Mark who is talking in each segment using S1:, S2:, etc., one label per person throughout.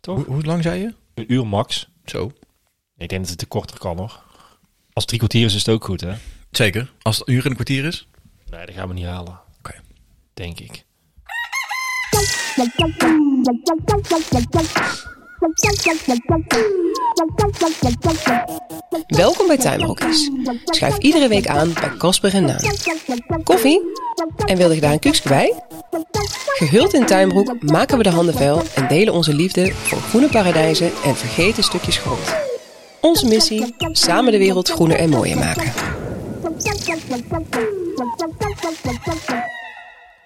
S1: Toch?
S2: Hoe, hoe lang zei je?
S1: Een uur max.
S2: Zo.
S1: Ik denk dat het te korter kan hoor. Als het drie kwartier is, is het ook goed hè?
S2: Zeker. Als het een uur en een kwartier is.
S1: Nee, dat gaan we niet halen.
S2: Oké.
S1: Denk ik.
S3: Welkom bij Tuinbroekjes. Schuif iedere week aan bij Kasper en Naam.
S4: Koffie?
S3: En wilde je daar een kuksje bij? Gehuld in tuinbroek maken we de handen vuil en delen onze liefde voor groene paradijzen en vergeten stukjes grond. Onze missie: samen de wereld groener en mooier maken.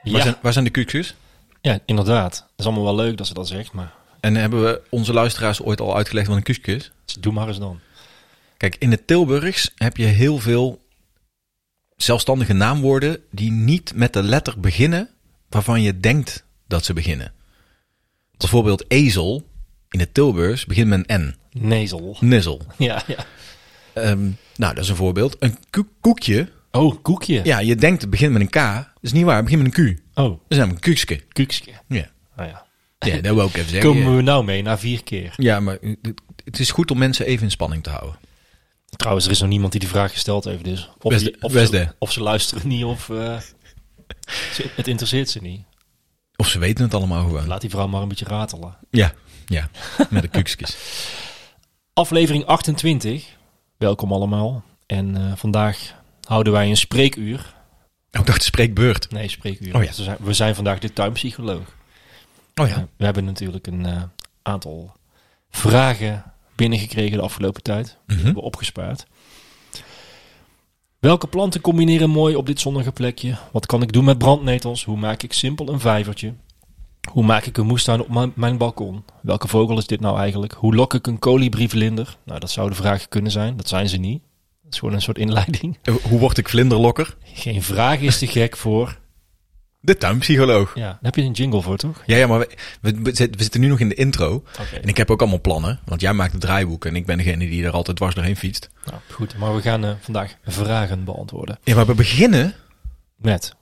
S2: Waar,
S1: Ja.
S2: zijn, waar zijn de kuksjes?
S1: ja, inderdaad. Dat is allemaal wel leuk dat ze dat zegt, maar
S2: En hebben we onze luisteraars ooit al uitgelegd wat een kuksje is?
S1: doe maar eens dan.
S2: Kijk, in het Tilburgs heb je heel veel zelfstandige naamwoorden die niet met de letter beginnen waarvan je denkt dat ze beginnen. Bijvoorbeeld ezel in het Tilburgs begint met een N.
S1: Nezel.
S2: Nizzle.
S1: Ja, ja.
S2: Ehm, nou, dat is een voorbeeld. Een koek- koekje.
S1: Oh, koekje.
S2: Ja, je denkt het begint met een K. Dat is niet waar, het begint met een Q.
S1: Oh,
S2: Dat is namelijk een kuksje.
S1: kuksje.
S2: Ja.
S1: Nou ja.
S2: ja, dat wil ik even zeggen.
S1: Komen we nou mee na vier keer?
S2: Ja, maar het- het is goed om mensen even in spanning te houden.
S1: Trouwens, er is nog niemand die die vraag gesteld heeft. Dus of,
S2: Best-
S1: die- of,
S2: best
S1: ze,
S2: hè.
S1: of ze luisteren niet of eh, ze- het interesseert ze niet.
S2: Of ze weten het allemaal gewoon.
S1: Laat die vrouw maar een beetje ratelen.
S2: Ja, ja. Met de kuksjes.
S1: Aflevering 28. Welkom allemaal. En eh, vandaag houden wij een spreekuur.
S2: Oh, ik dacht spreekbeurt.
S1: Nee, spreekuur.
S2: Oh ja.
S1: we, zijn, we zijn vandaag de tuinpsycholoog.
S2: Oh
S1: Eh, we hebben natuurlijk een eh, aantal vragen binnengekregen de afgelopen tijd. Die
S2: Mhm.
S1: hebben we opgespaard. Welke planten combineren mooi op dit zonnige plekje? Wat kan ik doen met brandnetels? Hoe maak ik simpel een vijvertje? Hoe maak ik een moestuin op mijn, mijn balkon? Welke vogel is dit nou eigenlijk? Hoe lok ik een kolibrievlinder? Nou, dat zou de vraag kunnen zijn. Dat zijn ze niet. Dat is gewoon een soort inleiding.
S2: Eh, Hoe word ik vlinderlokker?
S1: Geen vraag is te gek voor...
S2: De tuinpsycholoog.
S1: Ja, daar heb je een jingle voor, toch?
S2: Ja, ja, maar we, we, we zit- we zitten nu nog in de intro.
S1: Oké.
S2: En ik heb ook allemaal plannen. Want jij maakt het draaiboek en ik ben degene die er altijd dwars doorheen fietst.
S1: Nou, goed. Maar we gaan eh, vandaag vragen beantwoorden.
S2: Ja, maar we beginnen
S1: Met.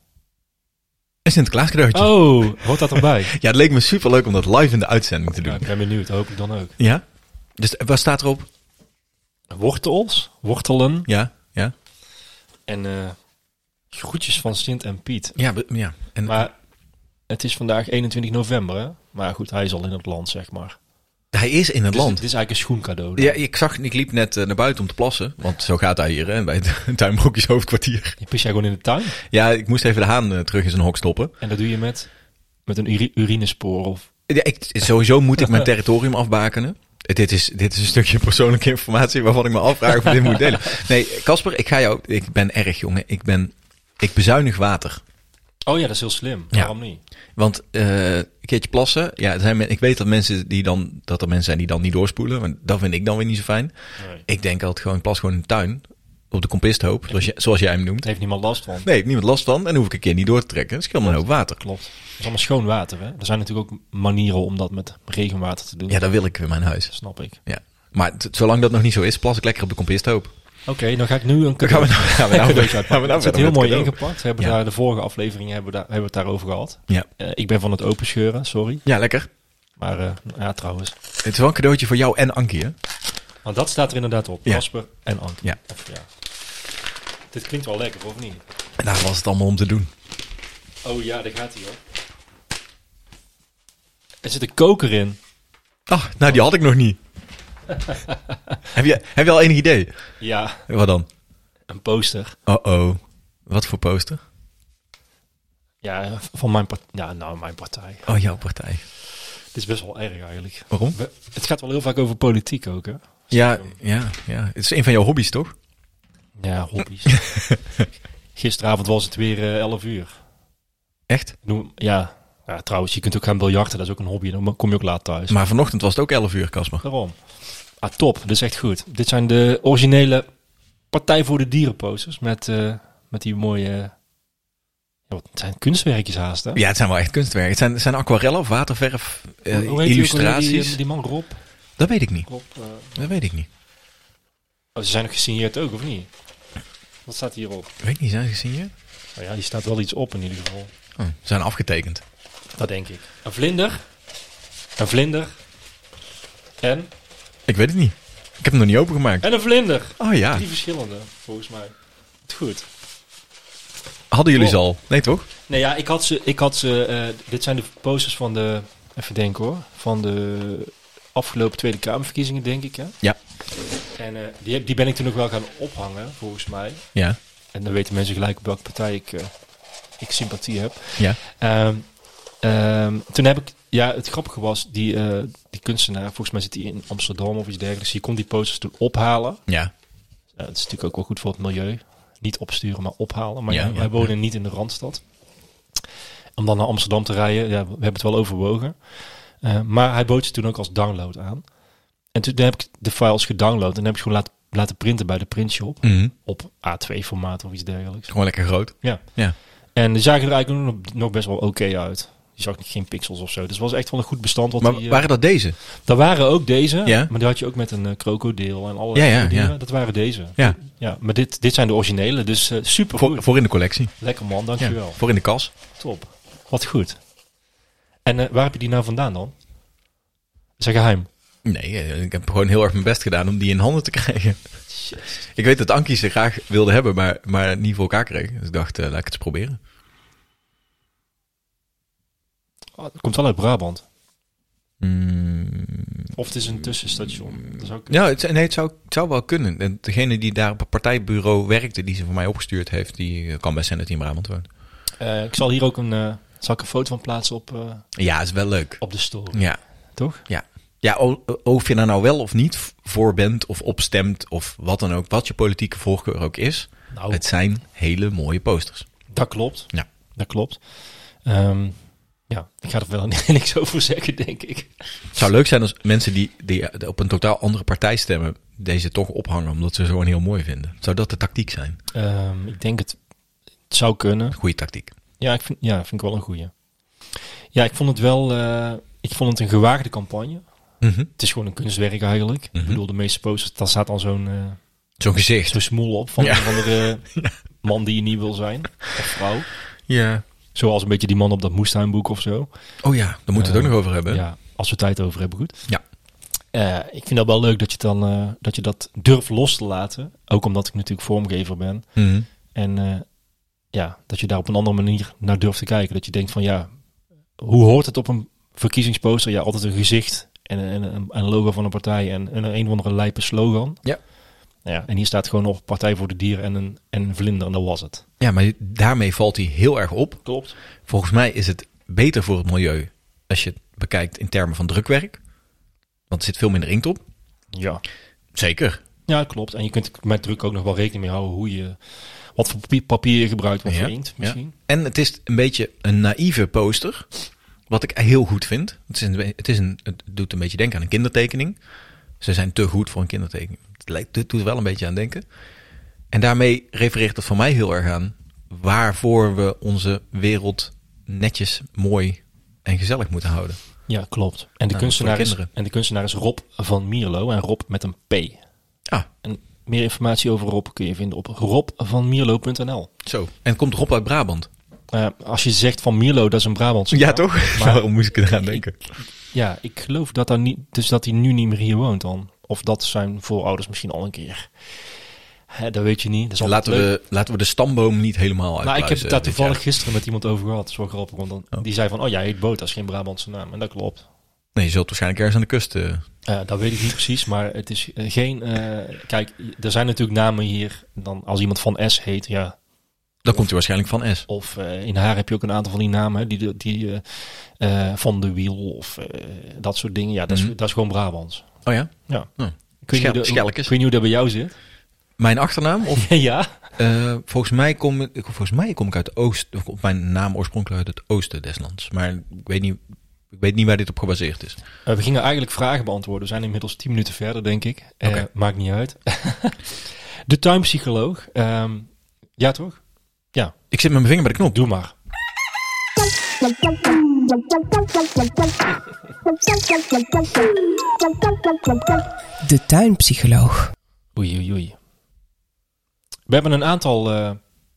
S2: een Sinterklaas cadeautje.
S1: Oh, hoort dat erbij?
S2: Ja, het leek me super leuk om dat live in de uitzending te doen.
S1: Nou, ik ben benieuwd, hoop ik dan ook.
S2: Ja? Dus eh, wat staat erop?
S1: Wortels, wortelen
S2: Ja, ja.
S1: en eh, groetjes van Sint en Piet.
S2: Ja, we- ja. En,
S1: Maar het is vandaag 21 november, hè? Maar goed, hij is al in het land, zeg maar.
S2: hij is in het
S1: Dus
S2: land.
S1: Het is eigenlijk een schoencadeau. dan.
S2: Ja, ik zag, ik liep net eh, naar buiten om te plassen. Want zo gaat hij hier, hè, bij het tuinbroekjes hoofdkwartier.
S1: Je pis jij gewoon in de tuin
S2: Ja, ik moest even de haan eh, terug in zijn hok stoppen.
S1: en dat doe je met, met een uri- urinespoor of...
S2: Ja, ik, sowieso moet ik mijn territorium afbakenen. Eh, Dit is, dit is een stukje persoonlijke informatie waarvan ik me afvraag of ik dit moet delen. Nee, Casper, ik ga jou. Ik ben erg, jongen. Ik ben. Ik bezuinig water.
S1: Oh ja, dat is heel slim.
S2: Ja.
S1: Waarom niet?
S2: Want eh, een keertje plassen. Ja, er zijn, men- ik weet dat, mensen die dan, dat er mensen zijn die dan niet doorspoelen. Want dat vind ik dan weer niet zo fijn.
S1: Nee.
S2: Ik denk altijd gewoon, ik plas gewoon in de tuin. Op de kompisthoop, zoals, je- zoals jij hem noemt.
S1: Daar heeft niemand last van.
S2: Nee, ik heb niemand last van. En dan hoef ik een keer niet door te trekken. Dat scheelt me een hoop water.
S1: Klopt. Het is allemaal schoon water, hè? Er zijn natuurlijk ook manieren om dat met regenwater te doen.
S2: Ja, dat wil ik in mijn huis.
S1: Dat snap ik.
S2: Ja. Maar t- zolang dat nog niet zo is, plas ik lekker op de kompisthoop.
S1: Oké, dan ga ik nu een
S2: Dan gaan
S1: cadeau...
S2: we nou, gaan we nou,
S1: Ja,
S2: gaan we nou
S1: het zit
S2: verder
S1: heel
S2: met
S1: mooi
S2: cadeau.
S1: ingepakt. We hebben
S2: Ja.
S1: daar de vorige aflevering hebben we daar, hebben we het daarover gehad.
S2: Ja.
S1: Eh, ik ben van het open scheuren, sorry.
S2: ja, lekker.
S1: Maar eh, ja, trouwens.
S2: Het is wel een cadeautje voor jou en Ankie, hè?
S1: Want dat staat er inderdaad op.
S2: Ja.
S1: Jasper en Anke.
S2: Ja.
S1: Of, ja. Dit klinkt wel lekker, of niet?
S2: En daar was het allemaal om te doen.
S1: Oh ja, daar gaat hij hoor. Er zit een koker in.
S2: Ah, nou, die had ik nog niet. heb, je, heb je al enig idee?
S1: Ja,
S2: Wat dan?
S1: een poster.
S2: Oh-oh. Wat voor poster?
S1: Ja, van mijn partij. Ja, nou, mijn partij.
S2: Oh, jouw partij.
S1: Het is best wel erg eigenlijk.
S2: Waarom?
S1: We- het gaat wel heel vaak over politiek ook, hè?
S2: Ja, ja, ja. Het is een van jouw hobby's, toch?
S1: Ja, hobby's. Gisteravond was het weer eh, 11 uur.
S2: Echt?
S1: Noem, ja. ja, trouwens, je kunt ook gaan biljarten. Dat is ook een hobby. Dan kom je ook laat thuis.
S2: Maar vanochtend was het ook 11 uur, Casper.
S1: Waarom? Ah, top. Dit is echt goed. Dit zijn de originele Partij voor de Dieren posters. Met, eh, met die mooie... ja, wat het zijn kunstwerkjes haast, hè?
S2: Ja, het zijn wel echt kunstwerken. Het zijn, het zijn aquarellen of waterverf, eh,
S1: Hoe- hoe heet die ook alweer,
S2: illustraties.
S1: Die, die man Rob.
S2: Dat weet ik niet.
S1: Rob eh,
S2: Dat weet ik niet.
S1: oh, ze zijn nog gesigneerd ook, of niet? Wat staat hierop?
S2: Weet ik niet, zijn ze gesigneerd?
S1: Nou ja, hier staat wel iets op in ieder geval.
S2: Oh, ze zijn afgetekend.
S1: Dat denk ik. Een vlinder. Een vlinder. En?
S2: Ik weet het niet. Ik heb hem nog niet opengemaakt.
S1: En een vlinder.
S2: Oh ja,
S1: Drie verschillende, volgens mij. Het Goed.
S2: hadden jullie ze
S1: Oh.
S2: al? Nee toch?
S1: Nee, ja, ik had ze. Ik had ze eh, dit zijn de posters van de. Even denken hoor. Van de afgelopen Tweede Kamerverkiezingen, denk ik. Hè?
S2: Ja.
S1: En eh, die, heb- die ben ik toen nog wel gaan ophangen, volgens mij.
S2: Ja.
S1: En dan weten mensen gelijk op welke partij ik, eh, ik sympathie heb.
S2: Ja.
S1: Ehm, ehm, toen heb ik, ja, het grappige was, die, eh, die kunstenaar, volgens mij zit hij in Amsterdam of iets dergelijks. Die kon die posters toen ophalen.
S2: Ja.
S1: Eh, het is natuurlijk ook wel goed voor het milieu. Niet opsturen, maar ophalen. Maar
S2: Ja,
S1: ja,
S2: ja,
S1: wij
S2: ja.
S1: wonen niet in de Randstad. Om dan naar Amsterdam te rijden, ja, we hebben het wel overwogen. Eh, maar hij bood ze toen ook als download aan. En toen heb ik de files gedownload en heb ik ze gewoon laten, laten printen bij de printshop.
S2: Mhm.
S1: Op A2-formaat of iets dergelijks.
S2: Gewoon lekker groot.
S1: En die zagen er eigenlijk nog- nog best wel oké uit. Je zag geen pixels of zo. Dus het was echt wel een goed bestand. Wat
S2: maar
S1: die, eh,
S2: waren dat deze?
S1: daar waren ook deze,
S2: Ja.
S1: maar die had je ook met een eh, krokodil en allerlei
S2: Ja, ja,
S1: soort dingen.
S2: ja.
S1: Dat waren deze.
S2: Ja.
S1: Ja, maar dit, dit zijn de originele, dus eh, super
S2: Voor,
S1: goed.
S2: voor in de collectie.
S1: Lekker man,
S2: Ja.
S1: dankjewel.
S2: Voor in de kas.
S1: Top. Wat goed. En eh, waar heb je die nou vandaan dan? Zeg geheim.
S2: Nee, eh, ik heb gewoon heel erg mijn best gedaan om die in handen te krijgen. Ik weet dat Ankie ze graag wilde hebben, maar, maar niet voor elkaar kreeg. Dus ik dacht, eh, laat ik het eens proberen.
S1: Oh, het komt wel uit Brabant.
S2: Mm,
S1: Of het is een tussenstation. Dat is ook...
S2: Ja, het, nee, het zou, het zou wel kunnen. En degene die daar op het partijbureau werkte, die ze voor mij opgestuurd heeft, die eh, kan best zijn dat hij in Brabant woont.
S1: Eh, ik zal hier ook een, eh, zal ik een foto van plaatsen op, eh,
S2: Ja, is wel leuk.
S1: op de store.
S2: Ja.
S1: Toch?
S2: Ja. Ja, o- o- of je daar nou wel of niet v- voor bent of opstemt of wat dan ook, wat je politieke voorkeur ook is.
S1: Nou,
S2: Het zijn hele mooie posters.
S1: dat klopt.
S2: Ja.
S1: Dat klopt. Ehm, ja, ik ga er wel niks over zeggen, denk ik.
S2: Het zou leuk zijn als mensen die, die op een totaal andere partij stemmen, deze toch ophangen omdat ze ze gewoon heel mooi vinden. Zou dat de tactiek zijn?
S1: Ehm, ik denk het, het zou kunnen.
S2: Goede tactiek.
S1: Ja, ik vind, ja, vind ik wel een goeie. Ja, ik vond het wel... eh, ik vond het een gewaagde campagne. Het is gewoon een kunstwerk eigenlijk.
S2: Mhm.
S1: Ik bedoel, de meeste posters, daar staat dan zo'n eh,
S2: Zo'n gezicht.
S1: zo'n smoel op van
S2: Ja.
S1: een of andere man die je niet wil zijn. Of vrouw.
S2: Ja.
S1: Zoals een beetje die man op dat moestuinboek of zo.
S2: Oh ja, daar moeten we het ook nog over hebben.
S1: Ja, als we tijd over hebben, goed.
S2: Ja.
S1: Eh, ik vind dat wel leuk dat je, het dan, eh, dat je dat durft los te laten. Ook omdat ik natuurlijk vormgever ben.
S2: Mhm.
S1: En eh, ja, dat je daar op een andere manier naar durft te kijken. Dat je denkt van ja, hoe hoort het op een verkiezingsposter? Ja, altijd een gezicht en een, en een, een logo van een partij en, en een een of andere lijpe slogan.
S2: Ja.
S1: Nou ja. En hier staat gewoon nog Partij voor de Dieren en een, en een vlinder en dat was het.
S2: Ja, maar daarmee valt hij heel erg op.
S1: Klopt.
S2: Volgens mij is het beter voor het milieu als je het bekijkt in termen van drukwerk. Want er zit veel minder inkt op.
S1: Ja.
S2: Zeker.
S1: Ja, klopt. En je kunt met druk ook nog wel rekening mee houden hoe je, wat voor papie- papier je gebruikt, wat
S2: Ja,
S1: voor inkt misschien.
S2: En het is een beetje een naïeve poster. Wat ik heel goed vind. Het, is een, het, is een, het doet een beetje denken aan een kindertekening. Ze zijn te goed voor een kindertekening. Het, lijkt, het doet er wel een beetje aan denken. En daarmee refereert het voor mij heel erg aan waarvoor we onze wereld netjes, mooi en gezellig moeten houden.
S1: Ja, klopt. En de,
S2: Nou, voor
S1: kunstenaar is,
S2: kinderen.
S1: en de kunstenaar is Rob van Mierlo en Rob met een P.
S2: Ah,
S1: En meer informatie over Rob kun je vinden op robvanmierlo.nl.
S2: zo. En het komt Rob uit Brabant.
S1: Eh als je zegt van Mierlo, dat is een Brabantse. taal.
S2: toch?
S1: Maar-
S2: Waarom moest ik eraan denken?
S1: ja, ik geloof dat, daar niet, dus dat hij nu niet meer hier woont dan. Of dat zijn voorouders misschien al een keer. Hè, dat weet je niet. Dat is altijd
S2: Laten
S1: leuk.
S2: we, laten we de stamboom niet helemaal uit.
S1: Nou, ik heb het daar toevallig gisteren met iemand over gehad. Dat is wel grappig. Want dan, Die zei van, oh jij heet Boot, dat is geen Brabantse naam. En dat klopt.
S2: Nee, je zult waarschijnlijk ergens aan de kust. eh,
S1: Eh, dat weet ik niet precies, maar het is eh, geen... eh, kijk, er zijn natuurlijk namen hier. Dan als iemand van S heet, ja,
S2: dan komt hij waarschijnlijk van S.
S1: Of eh, in haar heb je ook een aantal van die namen, hè, die, de- die eh, eh, van de wiel of eh, dat soort dingen. Ja, dat is,
S2: Mhm.
S1: dat is gewoon Brabants.
S2: Oh ja?
S1: Ja.
S2: Hm.
S1: Ik weet niet
S2: Schel-
S1: hoe dat-
S2: Schelkes.
S1: Ik weet niet hoe dat bij jou zit.
S2: Mijn achternaam? Of,
S1: ja.
S2: eh, volgens, mij kom, ik- volgens mij kom ik uit Oost. Of komt mijn naam oorspronkelijk uit het oosten des lands. Maar ik weet niet, ik weet niet waar dit op gebaseerd is.
S1: Eh, we gingen eigenlijk vragen beantwoorden. We zijn inmiddels 10 minuten verder, denk ik. Eh,
S2: Oké.
S1: Maakt niet uit. de tuinpsycholoog. Ehm, ja, toch?
S2: Ik zit met mijn vinger bij de knop.
S1: Doe maar.
S3: De tuinpsycholoog.
S1: Oei, oei, oei. We hebben een aantal eh,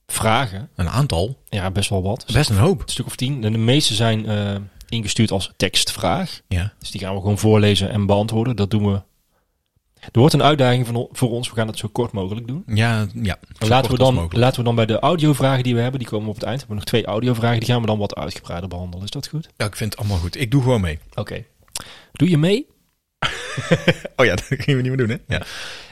S1: vragen.
S2: Een aantal.
S1: Ja, best wel wat.
S2: Best een hoop.
S1: Een stuk of tien. En de meeste zijn eh, ingestuurd als tekstvraag.
S2: Ja.
S1: Dus die gaan we gewoon voorlezen en beantwoorden. Dat doen we. Er wordt een uitdaging van, o- voor ons. We gaan het zo kort mogelijk doen.
S2: Ja, ja.
S1: Laten we,
S2: Zo kort als
S1: dan,
S2: mogelijk.
S1: laten we dan bij de audiovragen die we hebben, die komen op het eind. We hebben nog twee audiovragen, die gaan we dan wat uitgebreider behandelen. Is dat goed?
S2: Ja, ik vind het allemaal goed. Ik doe gewoon mee.
S1: Oké. Doe je mee?
S2: Oh ja, dat gingen we niet meer doen, hè? Ja.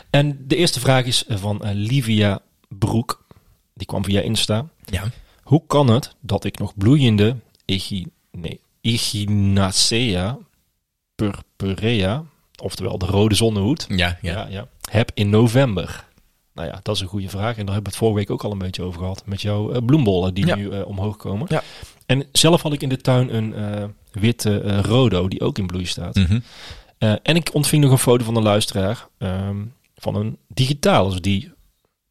S1: En de eerste vraag is van eh, Livia Broek. Die kwam via Insta.
S2: ja.
S1: Hoe kan het dat ik nog bloeiende Echinacea nee, Echinacea purpurea, oftewel de rode zonnehoed,
S2: Ja,
S1: ja.
S2: ja.
S1: Ja, heb in november? Nou ja, dat is een goede vraag. En daar hebben we het vorige week ook al een beetje over gehad. Met jouw eh, bloembollen die
S2: Ja.
S1: nu eh, omhoog komen.
S2: Ja.
S1: En zelf had ik in de tuin een eh, witte eh, rodo die ook in bloei staat.
S2: Mhm.
S1: Eh, en ik ontving nog een foto van een luisteraar ehm, van een digitalis die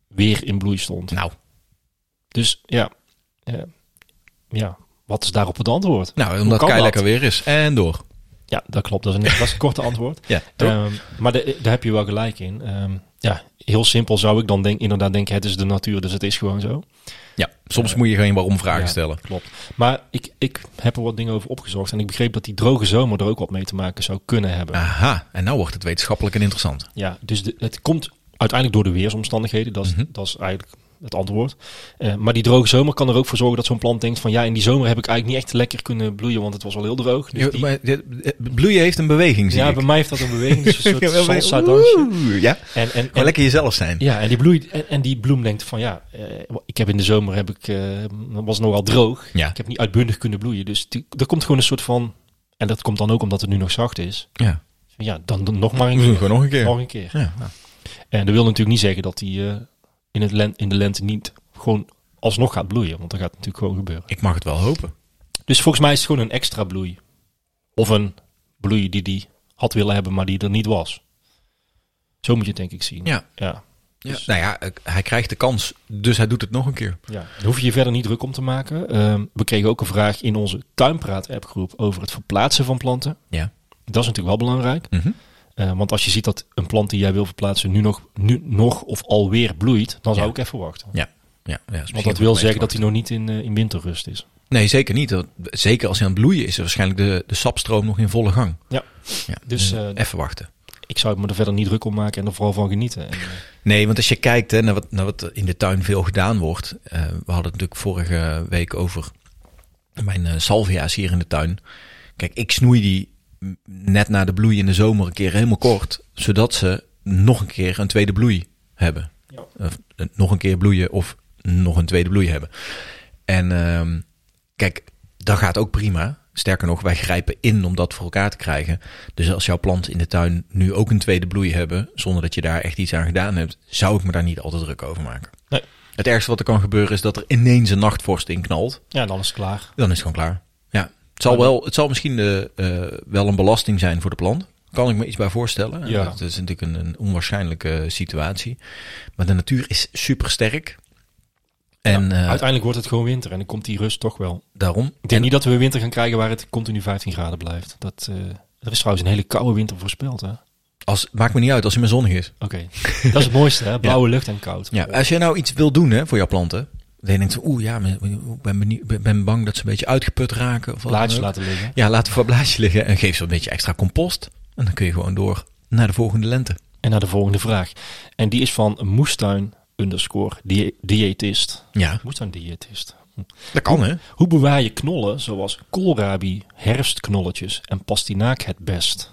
S1: weer in bloei stond.
S2: Nou,
S1: Dus ja, eh, ja, wat is daarop het antwoord?
S2: nou
S1: kan
S2: omdat Kai
S1: dat?
S2: lekker weer is. En door.
S1: Ja, dat klopt. Dat is een, dat is een korte antwoord.
S2: Ja, toch?
S1: Ehm, maar de- daar heb je wel gelijk in. Ehm, ja, heel simpel zou ik dan denk, inderdaad denken, het is de natuur, dus het is gewoon zo.
S2: ja, soms moet je geen waarom vragen
S1: eh, Ja,
S2: stellen.
S1: Klopt. Maar ik, ik heb er wat dingen over opgezocht en ik begreep dat die droge zomer er ook wat mee te maken zou kunnen hebben.
S2: Aha, en nou wordt het wetenschappelijk en interessant.
S1: Ja, dus de- het komt uiteindelijk door de weersomstandigheden. Dat is,
S2: Mhm.
S1: dat is eigenlijk het antwoord. Eh, maar die droge zomer kan er ook voor zorgen dat zo'n plant denkt van... ja, in die zomer heb ik eigenlijk niet echt lekker kunnen bloeien, want het was wel heel droog. Dus
S2: Je-
S1: die-
S2: maar dit- dit- Bloeien heeft een beweging, zie
S1: ja,
S2: ik.
S1: bij mij heeft dat een beweging, dus een soort
S2: Ja, maar-
S1: salsa dansje.
S2: Oeh, Ja, gewoon
S1: En, en, en-
S2: lekker jezelf zijn.
S1: ja, en die, bloei, en, en die bloem denkt van ja, eh, ik heb in de zomer heb ik, eh, was het nogal droog.
S2: Ja.
S1: Ik heb niet uitbundig kunnen bloeien. Dus die, er komt gewoon een soort van, en dat komt dan ook omdat het nu nog zacht is.
S2: Ja.
S1: Ja, dan, dan nog maar een
S2: We doen
S1: keer.
S2: het gewoon nog een keer.
S1: Nog een keer.
S2: Ja, nou.
S1: En dat wil natuurlijk niet zeggen dat hij eh, in, het len- in de lente niet gewoon alsnog gaat bloeien. Want dat gaat natuurlijk gewoon gebeuren.
S2: Ik mag het wel hopen.
S1: Dus volgens mij is het gewoon een extra bloei. Of een bloei die hij had willen hebben, maar die er niet was. Zo moet je het denk ik zien.
S2: Ja.
S1: Ja. Dus-
S2: Nou ja, eh, hij krijgt de kans, dus hij doet het nog een keer.
S1: Ja, daar hoef je je verder niet druk om te maken. Ehm, we kregen ook een vraag in onze Tuinpraat-appgroep over het verplaatsen van planten.
S2: Ja.
S1: Dat is natuurlijk wel belangrijk.
S2: Mhm.
S1: Eh, want als je ziet dat een plant die jij wil verplaatsen nu nog, nu nog of alweer bloeit, dan zou
S2: Ja.
S1: ik even wachten.
S2: Ja. ja, ja
S1: Want dat wil zeggen dat hij nog niet in, eh, in winterrust is.
S2: Nee, zeker niet. Want Zeker als hij aan het bloeien is, is waarschijnlijk de, de sapstroom nog in volle gang.
S1: Ja.
S2: ja.
S1: Dus,
S2: Dus
S1: eh,
S2: even wachten.
S1: Ik zou me er verder niet druk om maken en er vooral van genieten. En, eh,
S2: Nee, want als je kijkt hè, naar, wat, naar wat in de tuin veel gedaan wordt. eh, we hadden het natuurlijk vorige week over mijn eh, salvia's hier in de tuin. Kijk, ik snoei die m- net na de bloei in de zomer een keer helemaal kort. Zodat ze nog een keer een tweede bloei hebben.
S1: Ja.
S2: Of, eh, nog een keer bloeien of nog een tweede bloei hebben. En ehm, kijk, dat gaat ook prima. Sterker nog, wij grijpen in om dat voor elkaar te krijgen. Dus als jouw plant in de tuin nu ook een tweede bloei hebben, zonder dat je daar echt iets aan gedaan hebt, zou ik me daar niet altijd druk over maken.
S1: Nee.
S2: Het ergste wat er kan gebeuren is dat er ineens een nachtvorst in knalt.
S1: ja, dan is het klaar.
S2: Dan is het gewoon klaar. Ja. Het zal, wel, het zal misschien de, eh, wel een belasting zijn voor de plant. Kan ik me iets bij voorstellen.
S1: Ja.
S2: Dat is natuurlijk een, een onwaarschijnlijke eh, situatie. Maar de natuur is super sterk. En eh,
S1: Uiteindelijk wordt het gewoon winter en dan komt die rust toch wel.
S2: daarom.
S1: Ik
S2: en-
S1: denk niet dat we een winter gaan krijgen waar het continu 15 graden blijft. Dat, eh, er is trouwens een hele koude winter voorspeld. Hè? Oké,
S2: Als, maakt me niet uit als hij maar zonnig is.
S1: dat is het mooiste. Hè? Blauwe lucht en koud.
S2: Ja, als je nou iets wil doen hè, voor jouw planten. Dan denk je, oeh ja, maar ik ben, benieu- ben- ben bang dat ze een beetje uitgeput raken. Of wat dan
S1: Blaadjes
S2: ook.
S1: laten liggen.
S2: Ja, laat het voor blaadje liggen en geef ze een beetje extra compost. En dan kun je gewoon door naar de volgende lente.
S1: En naar de volgende vraag. En die is van moestuin underscore die- diëtist.
S2: Ja,
S1: Moestuin diëtist.
S2: dat kan hè.
S1: Hoe bewaar je knollen zoals koolrabi, herfstknolletjes en pastinaak het best?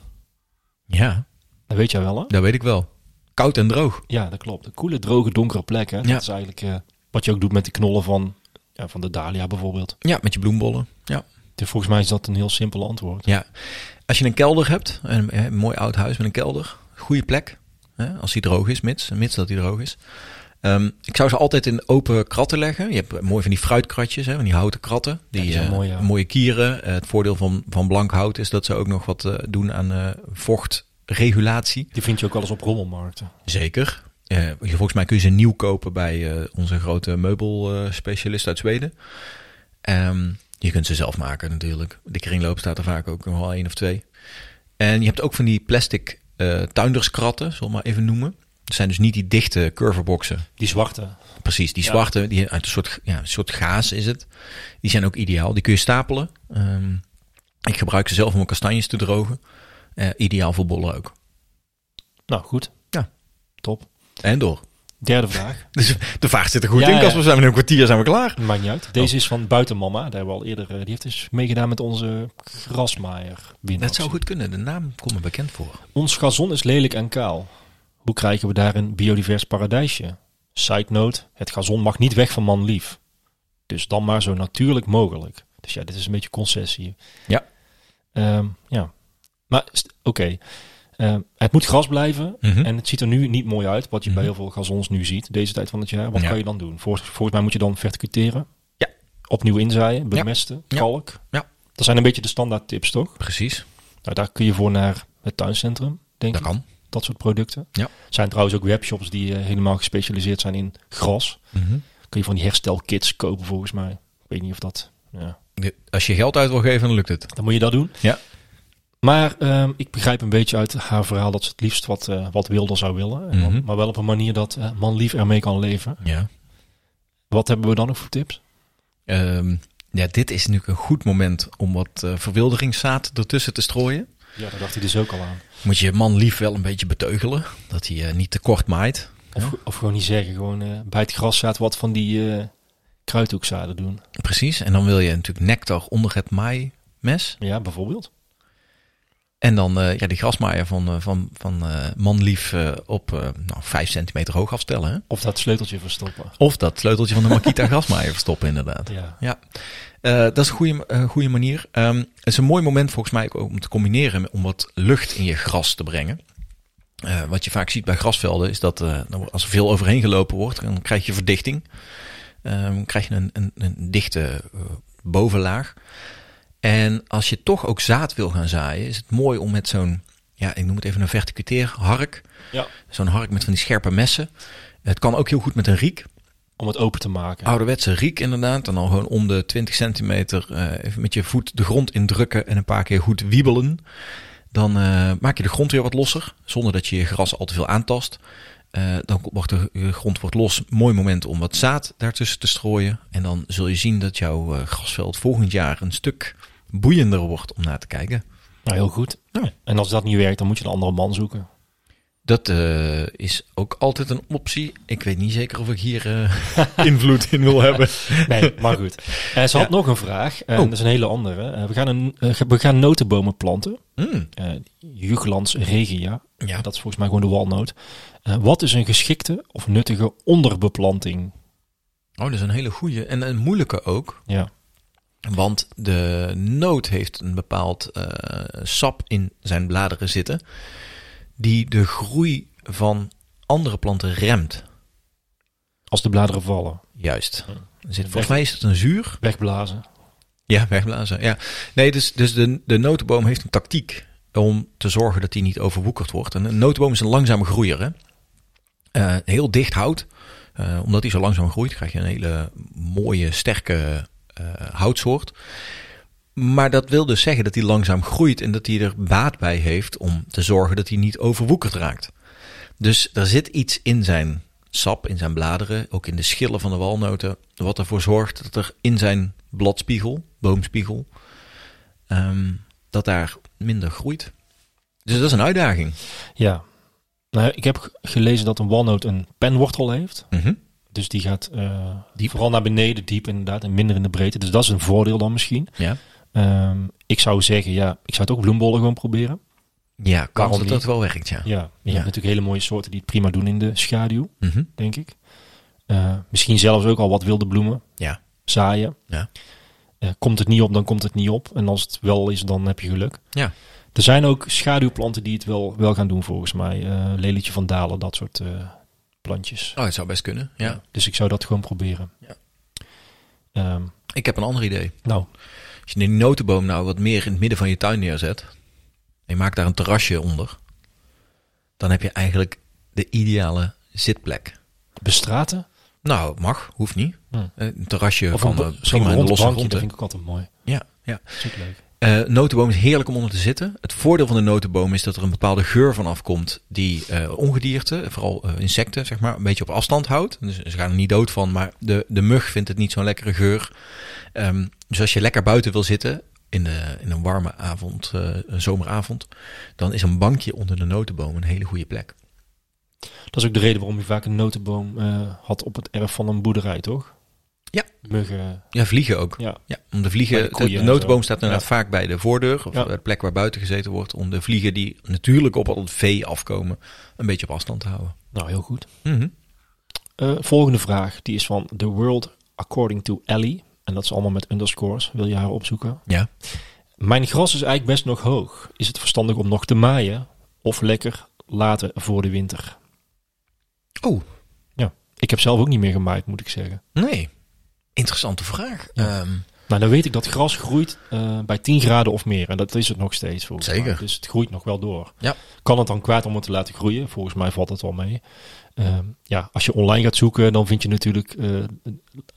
S2: Ja,
S1: Dat weet jij wel hè?
S2: dat weet ik wel. Koud en droog.
S1: Ja, dat klopt. Een koele, droge, donkere plek. Hè?
S2: Ja.
S1: Dat is eigenlijk eh, wat je ook doet met de knollen van, ja, van de dahlia bijvoorbeeld.
S2: Ja, met je bloembollen. Ja.
S1: Dus volgens mij is dat een heel simpel antwoord.
S2: Ja, als je een kelder hebt, een, eh, een mooi oud huis met een kelder, goede plek, hè, als die droog is, mits, mits dat die droog is. Ehm, ik zou ze altijd in open kratten leggen. Je hebt mooi van die fruitkratjes, hè, van die houten kratten. Die,
S1: die zijn
S2: eh,
S1: mooi, ja.
S2: mooie kieren. Eh, het voordeel van, van blank hout is dat ze ook nog wat eh, doen aan eh, vochtregulatie.
S1: Die vind je ook wel eens op rommelmarkten.
S2: Zeker. Eh, volgens mij kun je ze nieuw kopen bij eh, onze grote meubelspecialist uit Zweden. Ehm, je kunt ze zelf maken natuurlijk. De kringloop staat er vaak ook nog wel één of twee. En je hebt ook van die plastic eh, tuinderskratten, zal ik maar even noemen. Dat zijn dus niet die dichte curveboxen.
S1: Die zwarte.
S2: Precies, die
S1: Ja.
S2: zwarte, die uit een soort, ja, een soort gaas is het. Die zijn ook ideaal. Die kun je stapelen. Ehm, Ik gebruik ze zelf om mijn kastanjes te drogen. Eh, ideaal voor bollen ook.
S1: Nou, goed.
S2: Ja.
S1: Top.
S2: En door.
S1: Derde vraag.
S2: Dus de vaart zit er goed
S1: Ja,
S2: in,
S1: ja.
S2: Kasper. We zijn in een kwartier zijn we klaar.
S1: Maakt niet uit. Deze is van Buitenmama. Daar hebben we al eerder... eh, die heeft dus meegedaan met onze grasmaaier.
S2: Dat zou goed kunnen. De naam komt me bekend voor.
S1: Ons gazon is lelijk en kaal. Hoe krijgen we daar een biodivers paradijsje? Side note, het gazon mag niet weg van manlief. Dus dan maar zo natuurlijk mogelijk. Dus ja, dit is een beetje concessie.
S2: Ja.
S1: Ehm, ja. Maar st- oké. Ehm, het moet gras blijven.
S2: Mhm.
S1: En het ziet er nu niet mooi uit, wat je bij
S2: Mhm.
S1: heel veel gazons nu ziet, deze tijd van het jaar. Wat
S2: Ja.
S1: kan je dan doen? Volgens, volgens mij moet je dan verticuteren.
S2: Ja.
S1: Opnieuw inzaaien, bemesten,
S2: Ja.
S1: kalk.
S2: Ja.
S1: Dat zijn een beetje de standaard tips, toch?
S2: Precies.
S1: Nou, daar kun je voor naar het tuincentrum, denk
S2: Dat
S1: ik
S2: kan.
S1: dat soort producten.
S2: Ja.
S1: Er zijn trouwens ook webshops die eh, helemaal gespecialiseerd zijn in gras.
S2: Mhm.
S1: Kun je van die herstelkits kopen volgens mij. Ik weet niet of dat... Ja.
S2: De- Als je geld uit wil geven, dan lukt het.
S1: Dan moet je dat doen.
S2: Ja.
S1: Maar ehm, ik begrijp een beetje uit haar verhaal dat ze het liefst wat, eh, wat wilder zou willen. En dan-
S2: Mhm.
S1: Maar wel op een manier dat eh, man lief ermee kan leven.
S2: Ja.
S1: Wat hebben we dan nog voor tips?
S2: Ehm, ja, dit is natuurlijk een goed moment om wat eh, verwilderingszaad ertussen te strooien.
S1: Ja, daar dacht hij dus ook al aan.
S2: Moet je man lief wel een beetje beteugelen. Dat hij eh, niet te kort maait.
S1: Of, of gewoon niet zeggen. Gewoon eh, bij het graszaad wat van die eh kruidhoekzaden doen.
S2: Precies. En dan wil je natuurlijk nectar onder het maaimes.
S1: Ja, bijvoorbeeld.
S2: En dan eh, ja, die grasmaaier van, eh, van, van eh, manlief eh, op eh nou, 5 centimeter hoog afstellen. Hè?
S1: Of dat sleuteltje verstoppen.
S2: Of dat sleuteltje van de Makita grasmaaier verstoppen inderdaad.
S1: Ja.
S2: Ja, Eh, dat is een goede, eh, goede manier. Ehm, het is een mooi moment volgens mij ook om te combineren met- om wat lucht in je gras te brengen. Eh, wat je vaak ziet bij grasvelden is dat eh, nou, als er veel overheen gelopen wordt, dan krijg je verdichting. Ehm krijg je een, een, een dichte eh, bovenlaag. En als je toch ook zaad wil gaan zaaien, is het mooi om met zo'n, ja, ik noem het even een verticuteer hark.
S1: ja.
S2: Zo'n hark met van die scherpe messen. Het kan ook heel goed met een riek.
S1: Om het open te maken.
S2: Ouderwetse riek inderdaad. En dan gewoon om de 20 centimeter eh, even met je voet de grond indrukken en een paar keer goed wiebelen. Dan eh, maak je de grond weer wat losser, zonder dat je je gras al te veel aantast. Eh, dan wordt de je grond wordt los. Mooi moment om wat zaad daartussen te strooien. En dan zul je zien dat jouw eh, grasveld volgend jaar een stuk boeiender wordt om naar te kijken.
S1: Nou, heel goed.
S2: Ja.
S1: En als dat niet werkt, dan moet je een andere man zoeken.
S2: Dat eh, is ook altijd een optie. Ik weet niet zeker of ik hier eh, invloed in wil hebben.
S1: Nee, maar goed. Eh, ze had
S2: Ja.
S1: nog een vraag. En
S2: Oh.
S1: Dat is een hele andere. Eh, we, gaan een, eh, we gaan notenbomen planten.
S2: Hmm,
S1: Eh Juglands regia.
S2: ja,
S1: Dat is volgens mij gewoon de walnoot. Eh, wat is een geschikte of nuttige onderbeplanting?
S2: Oh, dat is een hele goede en een moeilijke ook.
S1: Ja.
S2: Want de noot heeft een bepaald eh, sap in zijn bladeren zitten. Die de groei van andere planten remt.
S1: Als de bladeren vallen.
S2: Juist. Er Zit, volgens
S1: Weg-
S2: mij is het een zuur.
S1: Wegblazen.
S2: Ja, wegblazen. Ja. Nee, dus, dus de, de notenboom heeft een tactiek om te zorgen dat die niet overwoekerd wordt. En een notenboom is een langzame groeier. Hè? Eh, heel dicht hout. Eh, omdat die zo langzaam groeit, krijg je een hele mooie, sterke eh, houtsoort. Maar dat wil dus zeggen dat die langzaam groeit en dat hij er baat bij heeft om te zorgen dat hij niet overwoekerd raakt. Dus er zit iets in zijn sap, in zijn bladeren, ook in de schillen van de walnoten, wat ervoor zorgt dat er in zijn bladspiegel, boomspiegel, ehm, dat daar minder groeit. Dus dat is een uitdaging.
S1: Ja. Nou, ik heb g- gelezen dat een walnoot een penwortel heeft.
S2: Mhm.
S1: Dus die gaat eh,
S2: Diep.
S1: vooral naar beneden, diep inderdaad. En minder in de breedte. Dus dat is een voordeel dan misschien.
S2: Ja.
S1: Ehm, ik zou zeggen, ja, ik zou het ook bloembollen gewoon proberen.
S2: ja, kan
S1: Waarom
S2: dat dat
S1: niet?
S2: wel werkt, ja.
S1: Ja, je
S2: Ja.
S1: hebt natuurlijk hele mooie soorten die het prima doen in de schaduw,
S2: Mhm.
S1: denk ik. Eh, misschien zelfs ook al wat wilde bloemen
S2: Ja.
S1: zaaien.
S2: Ja.
S1: Eh, komt het niet op, dan komt het niet op. En als het wel is, dan heb je geluk.
S2: Ja.
S1: Er zijn ook schaduwplanten die het wel, wel gaan doen, volgens mij. Eh, lelietje van Dalen, dat soort eh, plantjes.
S2: Oh, het zou best kunnen, ja.
S1: Dus ik zou dat gewoon proberen.
S2: Ja.
S1: Ehm,
S2: Ik heb een ander idee.
S1: nou,
S2: Als je die notenboom nou wat meer in het midden van je tuin neerzet. En je maakt daar een terrasje onder. Dan heb je eigenlijk de ideale zitplek.
S1: bestraten.
S2: Nou, mag, hoeft niet.
S1: Hm.
S2: Eh, Een terrasje
S1: Of een,
S2: van
S1: bo-
S2: eh,
S1: zo'n
S2: prima in de
S1: rond
S2: losse
S1: bankje, dat
S2: grond, hè?
S1: vind ik ook altijd mooi.
S2: Ja, ja.
S1: Dat is ook leuk.
S2: Eh, notenboom is heerlijk om onder te zitten. Het voordeel van de notenboom is dat er een bepaalde geur van afkomt die eh, ongedierte, vooral eh, insecten, zeg maar, een beetje op afstand houdt. Dus ze gaan er niet dood van, maar de, de mug vindt het niet zo'n lekkere geur. Ehm, dus als je lekker buiten wil zitten, in, de, in een warme avond, eh, een zomeravond, dan is een bankje onder de notenboom een hele goede plek.
S1: Dat is ook de reden waarom je vaak een notenboom eh, had op het erf van een boerderij, toch?
S2: Ja.
S1: Muggen.
S2: Ja, vliegen ook.
S1: Ja.
S2: Ja, om de vliegen.
S1: Bij de
S2: De,
S1: koeien
S2: de
S1: en
S2: notenboom
S1: zo.
S2: staat inderdaad
S1: Ja.
S2: vaak bij de voordeur. Of
S1: Ja.
S2: de plek waar buiten gezeten wordt. Om de vliegen die natuurlijk op al het vee afkomen. een beetje op afstand te houden.
S1: Nou, heel goed. Eh, volgende vraag, die is van The World According to Ellie. En dat is allemaal met underscores. Wil je haar opzoeken?
S2: Ja.
S1: Mijn gras is eigenlijk best nog hoog. Is het verstandig om nog te maaien? Of lekker later voor de winter?
S2: Oh,
S1: Ik heb zelf ook niet meer gemaaid, moet ik zeggen.
S2: nee. Interessante vraag. Ehm,
S1: Nou, dan weet ik dat gras groeit eh, bij 10 graden of meer. En dat is het nog steeds volgens
S2: Zeker.
S1: mij. Dus het groeit nog wel door.
S2: Ja.
S1: Kan het dan kwaad om het te laten groeien? Volgens mij valt het wel mee. Ehm, ja, als je online gaat zoeken, dan vind je natuurlijk eh,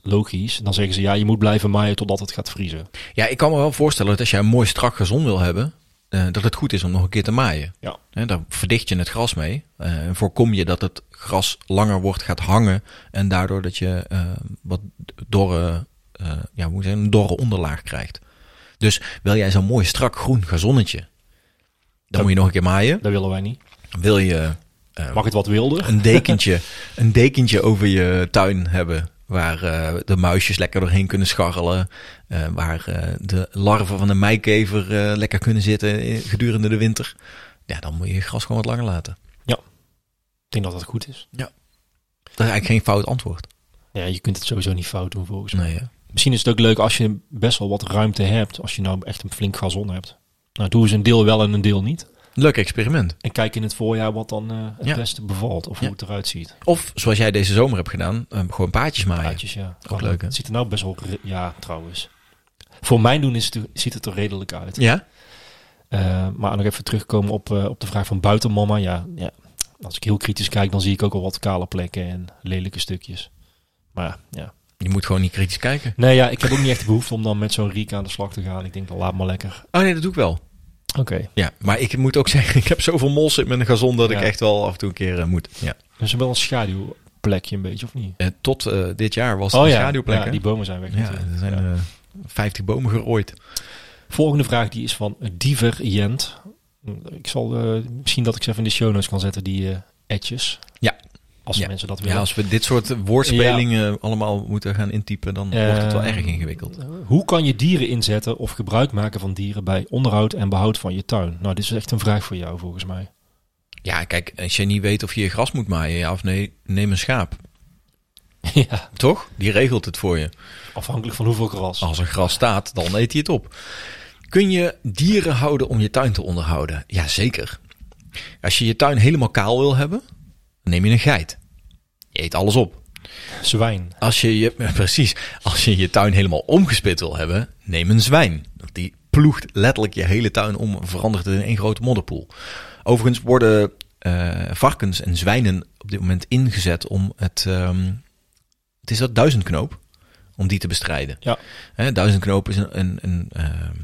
S1: logisch. Dan zeggen ze, ja, je moet blijven maaien totdat het gaat vriezen.
S2: ja, ik kan me wel voorstellen dat als jij een mooi strak gezond wil hebben. eh, dat het goed is om nog een keer te maaien.
S1: Ja.
S2: Hè, daar verdicht je het gras mee. eh, en voorkom je dat het gras langer wordt gaat hangen. En daardoor dat je eh, wat dorre, eh, ja, hoe moet ik zeggen, een dorre onderlaag krijgt. Dus wil jij zo'n mooi strak groen gazonnetje. Dan moet je nog een keer maaien.
S1: Dat willen wij niet.
S2: Wil je eh,
S1: Mag het wat wilder?
S2: een dekentje, een dekentje over je tuin hebben. Waar eh, de muisjes lekker doorheen kunnen scharrelen. eh, waar eh, de larven van de meikever eh, lekker kunnen zitten eh, gedurende de winter. Ja, dan moet je je gras gewoon wat langer laten.
S1: Ik denk dat dat goed is.
S2: Dat is eigenlijk geen fout antwoord.
S1: Ja, je kunt het sowieso niet fout doen volgens mij.
S2: Nee, hè?
S1: Misschien is het ook leuk als je best wel wat ruimte hebt. Als je nou echt een flink gazon hebt. Nou, doe eens een deel wel en een deel niet.
S2: Leuk experiment.
S1: En kijk in het voorjaar wat dan eh, het
S2: Ja.
S1: beste bevalt. Of
S2: Ja.
S1: hoe het eruit ziet.
S2: Of zoals jij deze zomer hebt gedaan, eh, gewoon paadjes maaien.
S1: Plaatjes, ja.
S2: Ook leuk, hè?
S1: Het ziet er nou best wel... re- Ja, trouwens. Voor mijn doen is het, ziet het er redelijk uit.
S2: Ja?
S1: Eh, maar nog even terugkomen op, eh, op de vraag van buitenmama. Ja, ja, als ik heel kritisch kijk, dan zie ik ook al wat kale plekken en lelijke stukjes. Maar ja.
S2: Je moet gewoon niet kritisch kijken.
S1: Nee, ja, ik heb ook niet echt de behoefte om dan met zo'n riek aan de slag te gaan. Ik denk, dan laat maar lekker.
S2: Oh nee, dat doe ik wel.
S1: Oké.
S2: Ja, maar ik moet ook zeggen, ik heb zoveel mols in mijn gazon dat ik
S1: Ja.
S2: echt wel af en toe een keer eh, moet. Ja.
S1: Dus wel een schaduwplekje een beetje, of niet? Oh
S2: Eh, tot eh, dit jaar was het een schaduwplek.
S1: ja,
S2: hè?
S1: die bomen zijn weg.
S2: Ja,
S1: natuurlijk.
S2: er zijn
S1: Ja.
S2: eh 50 bomen gerooid.
S1: Volgende vraag die is van Diever Jent. Ik zal eh, misschien dat ik ze even in de show notes kan zetten, die eh etjes.
S2: Ja.
S1: Als
S2: Ja.
S1: mensen dat willen.
S2: Ja, als we dit soort woordspelingen allemaal moeten gaan intypen, dan wordt het wel erg ingewikkeld.
S1: Hoe kan je dieren inzetten of gebruik maken van dieren bij onderhoud en behoud van je tuin? Nou, dit is echt een vraag voor jou volgens mij.
S2: Ja, kijk, als je niet weet of je je gras moet maaien, ja of nee, neem een schaap.
S1: ja,
S2: Toch? Die regelt het voor je.
S1: afhankelijk van hoeveel gras.
S2: Als er gras staat, dan eet hij het op. Kun je dieren houden om je tuin te onderhouden? Jazeker. Als je je tuin helemaal kaal wil hebben, neem je een geit. Je eet alles op.
S1: Zwijn.
S2: Als je je, precies, als je je tuin helemaal omgespit wil hebben, neem een zwijn. Want Die ploegt letterlijk je hele tuin om, en verandert het in één grote modderpoel. Overigens worden eh, varkens en zwijnen op dit moment ingezet om het, ehm, het is dat duizendknoop, om die te bestrijden.
S1: Ja.
S2: Hè, duizendknoop is een, een, een ehm,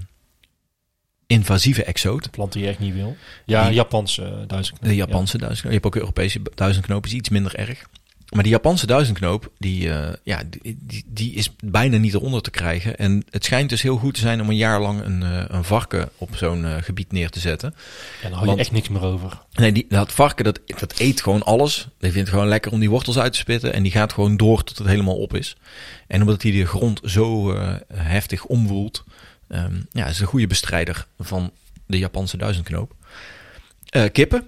S2: invasieve exoot.
S1: Planten die je echt niet wil. Ja,
S2: Die-
S1: Japans eh duizend.
S2: De Japanse duizendknoop. Je hebt ook Europese duizendknoop, is iets minder erg. Maar die Japanse duizendknoop, die, eh, ja, die, die, die is bijna niet eronder te krijgen. En het schijnt dus heel goed te zijn om een jaar lang een, eh, een varken op zo'n eh, gebied neer te zetten.
S1: Ja. En daar hou je
S2: Want-
S1: echt niks meer over.
S2: Nee, die, dat varken, dat, dat eet gewoon alles. Die vindt het gewoon lekker om die wortels uit te spitten. En die gaat gewoon door tot het helemaal op is. En omdat hij de grond zo eh, heftig omwoelt, ehm, ja, is een goede bestrijder van de Japanse duizendknoop. Eh, kippen.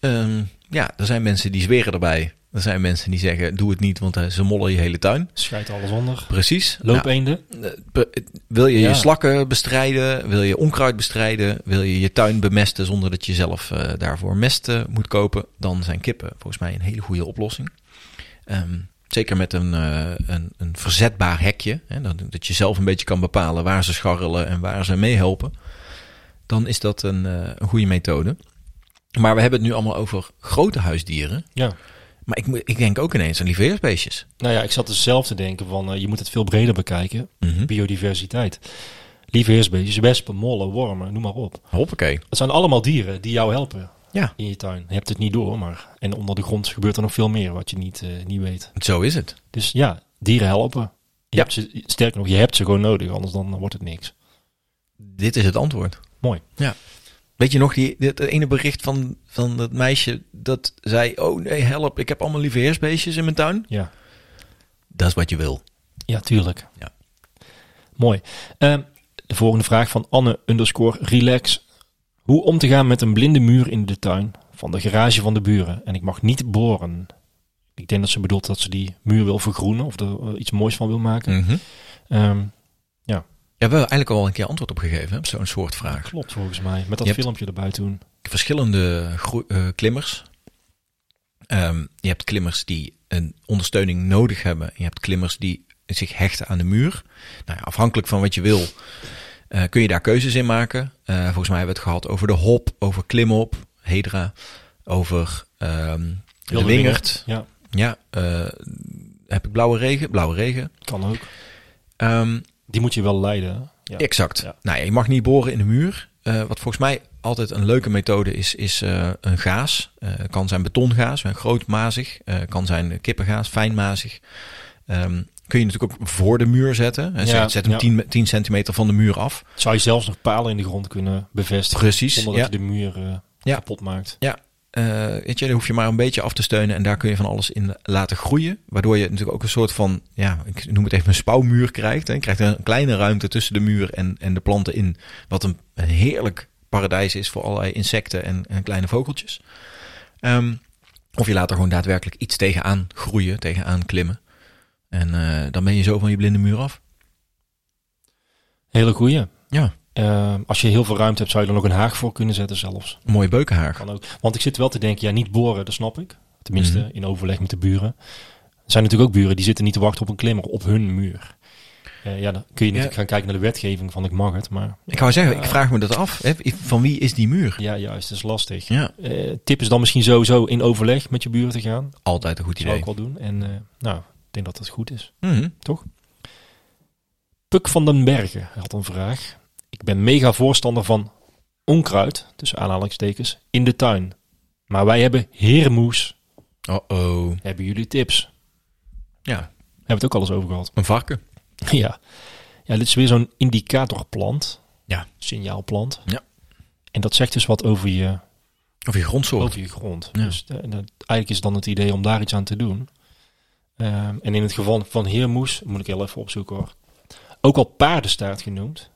S2: Ehm, ja, er zijn mensen die zweren erbij. Er zijn mensen die zeggen, doe het niet, want eh, ze mollen je hele tuin.
S1: Schijt alles onder.
S2: Precies. Nou,
S1: Loopeenden.
S2: eh, pe- eh, wil je
S1: Ja.
S2: je slakken bestrijden? Wil je onkruid bestrijden? Wil je je tuin bemesten zonder dat je zelf eh, daarvoor mest eh, moet kopen? Dan zijn kippen volgens mij een hele goede oplossing. Ehm, zeker met een, eh, een, een verzetbaar hekje. Hè, dat, dat je zelf een beetje kan bepalen waar ze scharrelen en waar ze meehelpen. Dan is dat een, eh, een goede methode. Maar we hebben het nu allemaal over grote huisdieren.
S1: Ja.
S2: Maar ik, moet- ik denk ook ineens aan lieveheersbeestjes.
S1: Nou ja, ik zat dus zelf te denken van, eh, je moet het veel breder bekijken.
S2: Mhm.
S1: Biodiversiteit. Lieve heersbeestjes, wespen, mollen, wormen, noem maar op.
S2: Hoppakee.
S1: Het zijn allemaal dieren die jou helpen
S2: Ja.
S1: in je tuin. Je hebt het niet door, maar en onder de grond gebeurt er nog veel meer wat je niet, eh, niet weet.
S2: Zo is het.
S1: Dus ja, dieren helpen. Je
S2: Ja.
S1: hebt ze, sterker nog, je hebt ze gewoon nodig, anders dan wordt het niks.
S2: dit is het antwoord.
S1: Mooi.
S2: Ja. Weet je nog, die, dat ene bericht van, van dat meisje dat zei... Oh nee, help, ik heb allemaal lieve heersbeestjes in mijn tuin.
S1: Ja,
S2: Dat is wat je wil.
S1: ja tuurlijk.
S2: Ja.
S1: Mooi. Ehm, de volgende vraag van Anne underscore relax. Hoe om te gaan met een blinde muur in de tuin van de garage van de buren en ik mag niet boren? Ik denk dat ze bedoelt dat ze die muur wil vergroenen of er eh, iets moois van wil maken. Ehm,
S2: Ja, we hebben eigenlijk al een keer antwoord op gegeven hè, op zo'n soort vraag.
S1: klopt volgens mij. Met dat
S2: Je hebt-
S1: filmpje erbij toen.
S2: Verschillende groe- eh, klimmers. Ehm, je hebt klimmers die een ondersteuning nodig hebben. Je hebt klimmers die zich hechten aan de muur. Nou ja, afhankelijk van wat je wil, eh, kun je daar keuzes in maken. Eh, volgens mij hebben we het gehad over de hop, over klimop, hedra, over ehm de
S1: Wilde
S2: wingerd.
S1: Ja,
S2: Ja, eh, heb ik blauwe regen? Blauwe regen.
S1: kan ook.
S2: Ehm,
S1: Die moet je wel leiden. hè? Ja.
S2: Exact.
S1: Ja.
S2: Nou, ja, je mag niet boren in de muur. Eh, wat volgens mij altijd een leuke methode is, is eh, een gaas. Eh, Het kan zijn betongaas, een grootmazig. eh kan zijn kippengaas, fijnmazig. Ehm, kun je natuurlijk ook voor de muur zetten. Hè, zet-
S1: Ja,
S2: zet hem
S1: ja.
S2: 10, me- 10 centimeter van de muur af.
S1: Zou je zelfs nog palen in de grond kunnen bevestigen.
S2: Precies.
S1: Zonder
S2: Ja.
S1: dat je de muur eh,
S2: Ja.
S1: kapot maakt.
S2: Eh, weet je, daar hoef je maar een beetje af te steunen en daar kun je van alles in laten groeien. Waardoor je natuurlijk ook een soort van, ja, ik noem het even een spouwmuur krijgt. Hè. Je krijgt een kleine ruimte tussen de muur en, en de planten in. Wat een, een heerlijk paradijs is voor allerlei insecten en, en kleine vogeltjes. Ehm, of je laat er gewoon daadwerkelijk iets tegenaan groeien, tegenaan klimmen. En eh, dan ben je zo van je blinde muur af.
S1: Hele goeie.
S2: Ja,
S1: Eh, als je heel veel ruimte hebt, zou je er nog een haag voor kunnen zetten zelfs.
S2: een mooie beukenhaag.
S1: Kan ook. Want ik zit wel te denken, ja, niet boren, dat snap ik. Tenminste,
S2: Mhm.
S1: in overleg met de buren. Er zijn natuurlijk ook buren die zitten niet te wachten op een klimmer op hun muur. Eh, ja, dan kun je
S2: Ja.
S1: natuurlijk gaan kijken naar de wetgeving van ik mag het, maar
S2: Ik wou zeggen, ik vraag me dat af. Hè. Van wie is die muur?
S1: ja, juist, dat is lastig.
S2: Ja,
S1: Eh, tip is dan misschien sowieso in overleg met je buren te gaan.
S2: altijd een goed
S1: Dat zou
S2: idee.
S1: ik wel doen. En eh, nou, ik denk dat dat goed is.
S2: Mhm.
S1: Puk van den Bergen had een vraag. Ik ben mega voorstander van onkruid, tussen aanhalingstekens, in de tuin. Maar wij hebben heermoes.
S2: Uh-oh.
S1: Hebben jullie tips?
S2: Ja,
S1: Hebben we het ook al eens over gehad.
S2: een varken.
S1: ja. ja, dit is weer zo'n indicatorplant.
S2: Ja.
S1: Signaalplant.
S2: Ja.
S1: En dat zegt dus wat over je,
S2: Of je grondsoort.
S1: over je grond.
S2: Ja.
S1: Dus eh, dat- eigenlijk is dan het idee om daar iets aan te doen. Ehm, en in het geval van heermoes, moet ik heel even opzoeken hoor. Ook al paardenstaart genoemd.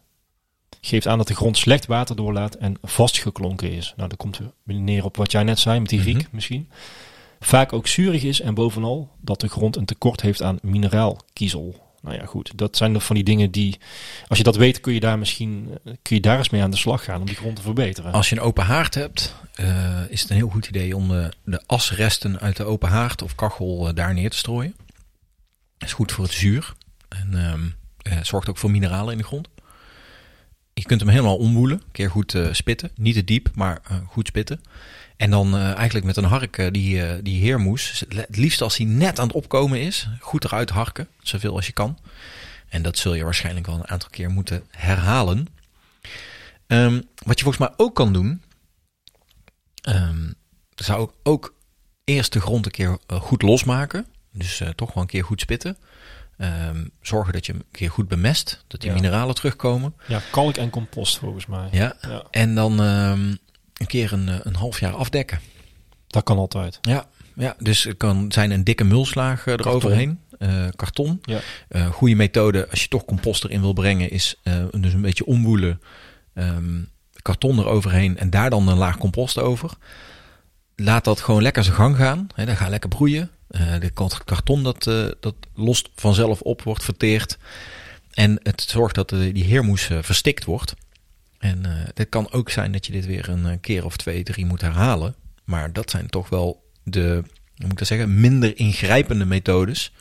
S1: Geeft aan dat de grond slecht water doorlaat en vastgeklonken is. Nou, dat komt weer neer op wat jij net zei met die riek
S2: Mhm.
S1: misschien. Vaak ook zuurig is en bovenal dat de grond een tekort heeft aan mineraalkiezel. Nou ja, goed. Dat zijn er van die dingen die, als je dat weet, kun je daar misschien eh, kun je daar eens mee aan de slag gaan om die grond te verbeteren.
S2: Als je een open haard hebt, eh, is het een heel goed idee om de, de asresten uit de open haard of kachel eh, daar neer te strooien. Dat is goed voor het zuur en ehm, eh, zorgt ook voor mineralen in de grond. Je kunt hem helemaal omwoelen, een keer goed eh, spitten. Niet te diep, maar eh, goed spitten. En dan eh, eigenlijk met een hark eh, die, eh, die heermoes, het liefst als hij net aan het opkomen is, goed eruit harken, zoveel als je kan. En dat zul je waarschijnlijk wel een aantal keer moeten herhalen. Ehm, wat je volgens mij ook kan doen, ehm, zou ik ook eerst de grond een keer eh, goed losmaken. Dus eh, toch wel een keer goed spitten. Ehm, zorgen dat je hem een keer goed bemest, dat die
S1: Ja.
S2: mineralen terugkomen.
S1: Ja, kalk en compost volgens mij.
S2: Ja.
S1: Ja.
S2: En dan ehm, een keer een, eh, een half jaar afdekken.
S1: Dat kan altijd.
S2: Ja. ja. Dus het kan zijn een dikke mulslaag eh, eroverheen. eh, karton.
S1: Ja.
S2: Eh, goede methode als je toch compost erin wil brengen is eh, dus een beetje omwoelen. ehm, karton eroverheen en daar dan een laag compost over. Laat dat gewoon lekker zijn gang gaan. Hè, dat gaat lekker broeien. Eh de kant- karton dat, eh, dat lost vanzelf op, wordt verteerd. En het zorgt dat eh, die heermoes eh, verstikt wordt. En eh het kan ook zijn dat je dit weer een eh, keer of twee, drie moet herhalen. Maar dat zijn toch wel de, hoe moet ik dat zeggen, minder ingrijpende methodes.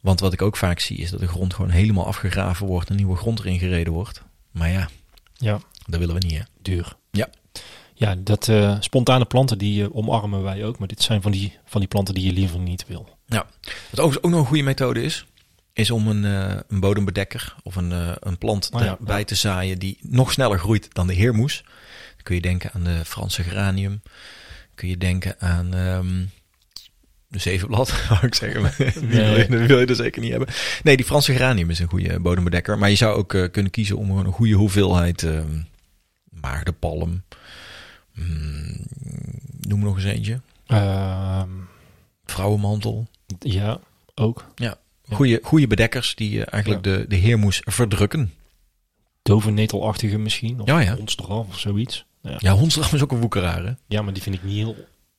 S2: Want wat ik ook vaak zie is dat de grond gewoon helemaal afgegraven wordt en nieuwe grond erin gereden wordt. Maar ja,
S1: Ja.
S2: dat willen we niet hè.
S1: Duur.
S2: Ja.
S1: Ja, dat eh, spontane planten die eh, omarmen wij ook. Maar dit zijn van die, van die planten die je liever niet wil.
S2: Wat overigens ook nog een goede methode is, is om een, eh, een bodembedekker of een, eh, een plant
S1: Oh ja,
S2: bij
S1: ja.
S2: te zaaien die nog sneller groeit dan de heermoes. Dan kun je denken aan de Franse geranium. Kun je denken aan ehm, de zevenblad, wou ik zeggen. Maar die wil je- die wil je er zeker niet hebben. Nee, die Franse geranium is een goede bodembedekker. Maar je zou ook eh, kunnen kiezen om gewoon een goede hoeveelheid ehm maagdenpalm. Mm, noem nog eens eentje.
S1: Ehm,
S2: Vrouwenmantel.
S1: ja, ook. Ja.
S2: Goede, goede bedekkers die eh, eigenlijk de, de heermoes verdrukken.
S1: Dove netelachtige misschien. Of
S2: Ja, ja.
S1: hondstraf of zoiets. Ja.
S2: Ja, Honsdram is ook een woekeraar, hè?
S1: ja, maar die vind ik niet heel...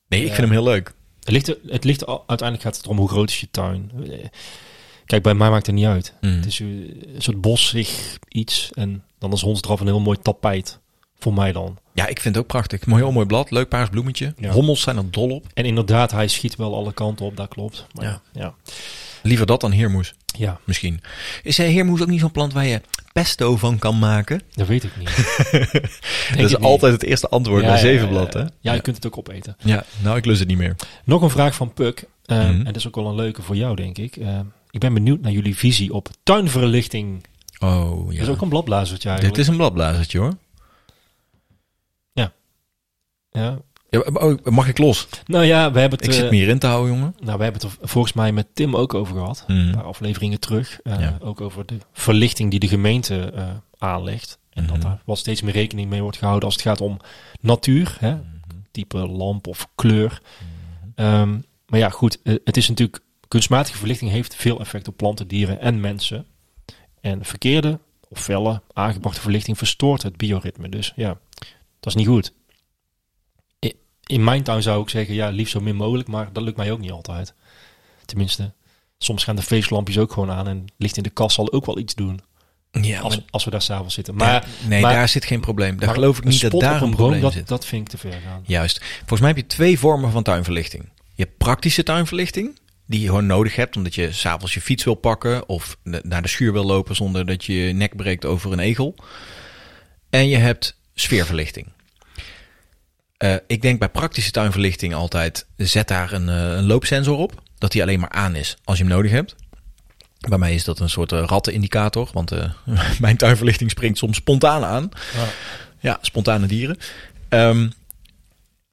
S2: Nee, ik
S1: Ja.
S2: vind hem heel leuk.
S1: Het ligt, er- het ligt er al- uiteindelijk gaat het erom hoe groot is je tuin. Eh, Kijk, bij mij maakt het niet uit.
S2: Mm.
S1: Het is eh, een soort bossig iets. En dan is hondsdraf een heel mooi tapijt. Voor mij dan.
S2: Ja, ik vind het ook prachtig. Mooi, heel mooi blad. Leuk paars bloemetje.
S1: Ja.
S2: Hommels zijn er dol op.
S1: En inderdaad, hij schiet wel alle kanten op. Dat klopt. Maar
S2: Ja.
S1: ja. Ja.
S2: Liever dat dan heermoes,
S1: ja,
S2: misschien. Is eh, heermoes ook niet zo'n plant waar je pesto van kan maken?
S1: dat weet ik niet. Denk
S2: dat is
S1: ik niet.
S2: altijd het eerste antwoord
S1: Ja,
S2: bij
S1: ja,
S2: zevenblad,
S1: ja, ja.
S2: hè?
S1: Ja, je kunt het ook opeten.
S2: Ja, nou, ik lust het niet meer.
S1: Nog een vraag van Puk. Ehm,
S2: Mhm.
S1: En dat is ook wel een leuke voor jou, denk ik. Ehm, ik ben benieuwd naar jullie visie op tuinverlichting.
S2: Oh, ja.
S1: Dat is ook een bladblazertje eigenlijk.
S2: Dit is een bladblazertje, hoor.
S1: ja.
S2: Ja, maar- oh, mag ik los?
S1: Nou ja, we hebben het,
S2: Ik zit
S1: eh,
S2: me hierin te houden, jongen.
S1: nou, we hebben het er volgens mij met Tim ook over gehad.
S2: Mhm.
S1: Een paar afleveringen terug. eh,
S2: Ja.
S1: Ook over de verlichting die de gemeente eh, aanlegt. En dat
S2: Mhm.
S1: daar wel steeds meer rekening mee wordt gehouden als het gaat om natuur. Hè?
S2: Mhm.
S1: Type lamp of kleur. Ehm, maar ja, goed. eh, het is natuurlijk... Kunstmatige verlichting heeft veel effect op planten, dieren en mensen. En verkeerde of felle aangebrachte verlichting verstoort het bioritme. Dus ja, dat is niet goed. I- In mijn tuin zou ik zeggen, ja, liefst zo min mogelijk. Maar dat lukt mij ook niet altijd. Tenminste, soms gaan de feestlampjes ook gewoon aan. En het licht in de kast zal ook wel iets doen.
S2: Ja,
S1: Als,
S2: maar-
S1: als we daar s'avonds zitten. Maar,
S2: Ja, nee,
S1: maar-
S2: daar zit geen probleem. Daar
S1: maar
S2: geloof ik
S1: een
S2: niet dat
S1: spot
S2: daar
S1: op
S2: een probleem
S1: dat,
S2: zit.
S1: dat vind ik te ver gaan.
S2: Juist. Volgens mij heb je twee vormen van tuinverlichting. Je hebt praktische tuinverlichting, die je gewoon nodig hebt omdat je s'avonds je fiets wil pakken of n- naar de schuur wil lopen zonder dat je je nek breekt over een egel. En je hebt sfeerverlichting. Eh, ik denk bij praktische tuinverlichting altijd, zet daar een, eh, een loopsensor op, dat die alleen maar aan is als je hem nodig hebt. Bij mij is dat een soort eh, rattenindicator, want eh, mijn tuinverlichting springt soms spontaan aan.
S1: Ja.
S2: Ja, spontane dieren. Ehm,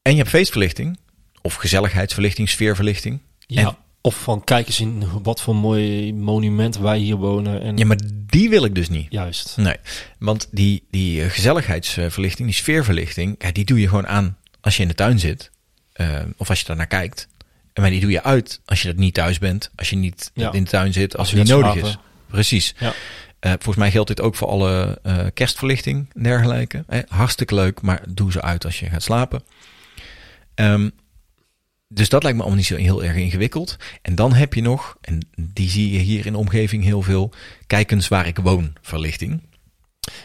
S2: en je hebt feestverlichting. Of gezelligheidsverlichting, sfeerverlichting.
S1: Ja,
S2: En-
S1: of van kijk eens in wat voor mooi monument wij hier wonen. En,
S2: Ja, maar die wil ik dus niet.
S1: Juist.
S2: Nee, want die, die eh, gezelligheidsverlichting, die sfeerverlichting... Ja, die doe je gewoon aan als je in de tuin zit. eh, of als je daarnaar kijkt. En Maar die doe je uit als je dat niet thuis bent. Als je niet
S1: Ja.
S2: in de tuin zit, als,
S1: Als
S2: het
S1: je
S2: niet
S1: gaat
S2: nodig is.
S1: slapen.
S2: Precies.
S1: Ja.
S2: Eh, volgens mij geldt dit ook voor alle eh, kerstverlichting en dergelijke. Eh, hartstikke leuk, maar doe ze uit als je gaat slapen. Ehm, dus dat lijkt me allemaal niet zo heel erg ingewikkeld. En dan heb je nog, en die zie je hier in de omgeving heel veel, kijk eens waar ik woon verlichting.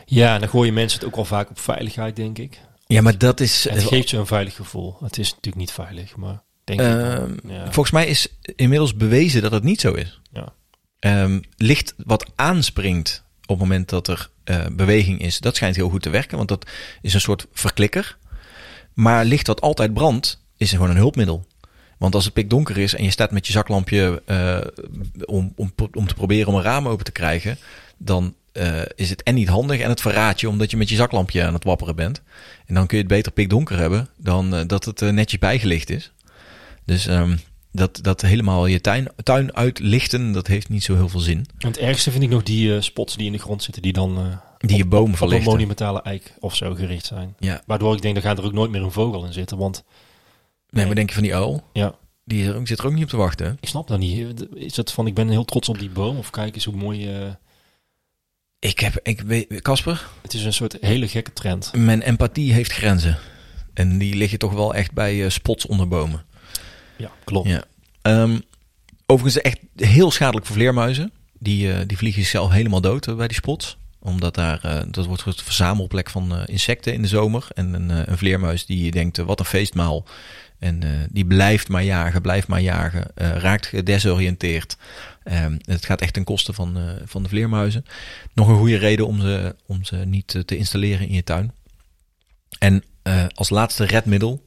S1: Ja, en dan gooien mensen het ook al vaak op veiligheid, denk ik.
S2: Ja, maar dat is...
S1: Het geeft je een veilig gevoel. Het is natuurlijk niet veilig, maar denk ik.
S2: Ehm,
S1: Ja.
S2: Volgens mij is inmiddels bewezen dat het niet zo is.
S1: Ja.
S2: Ehm, licht wat aanspringt op het moment dat er eh, beweging is, dat schijnt heel goed te werken, want dat is een soort verklikker. Maar licht wat altijd brandt, is gewoon een hulpmiddel. Want als het pikdonker is en je staat met je zaklampje eh, om, om, om te proberen om een raam open te krijgen, dan eh, is het en niet handig en het verraadt je omdat je met je zaklampje aan het wapperen bent. En dan kun je het beter pikdonker hebben dan eh, dat het eh, netjes bijgelicht is. Dus ehm, dat, dat helemaal je tuin, tuin uitlichten, dat heeft niet zo heel veel zin.
S1: En het ergste vind ik nog die eh, spots die in de grond zitten, die dan eh,
S2: Die je boom
S1: op een
S2: verlichten.
S1: monumentale eik of zo gericht zijn.
S2: Ja,
S1: Waardoor ik denk, dan gaat er ook nooit meer een vogel in zitten. Want
S2: nee, maar denk je van die uil?
S1: Ja.
S2: Die is er ook- zit er ook niet op te wachten. hè?
S1: ik snap dat niet. Is dat van, ik ben heel trots op die boom. Of kijk eens hoe mooi... eh,
S2: Ik heb, ik weet, Casper,
S1: het is een soort hele gekke trend.
S2: mijn empathie heeft grenzen. En die liggen toch wel echt bij eh, spots onder bomen.
S1: Ja, klopt.
S2: Ja. Ehm, overigens echt heel schadelijk voor vleermuizen. Die, eh, die vliegen zichzelf helemaal dood eh, bij die spots. Omdat daar, eh, dat wordt een soort verzamelplek van eh, insecten in de zomer. En een, eh, een vleermuis die denkt, eh, wat een feestmaal. En eh, die blijft maar jagen, blijft maar jagen. eh, raakt gedesoriënteerd. Ehm, het gaat echt ten koste van, eh, van de vleermuizen. Nog een goede reden om ze, om ze niet eh, te installeren in je tuin. En eh, als laatste redmiddel.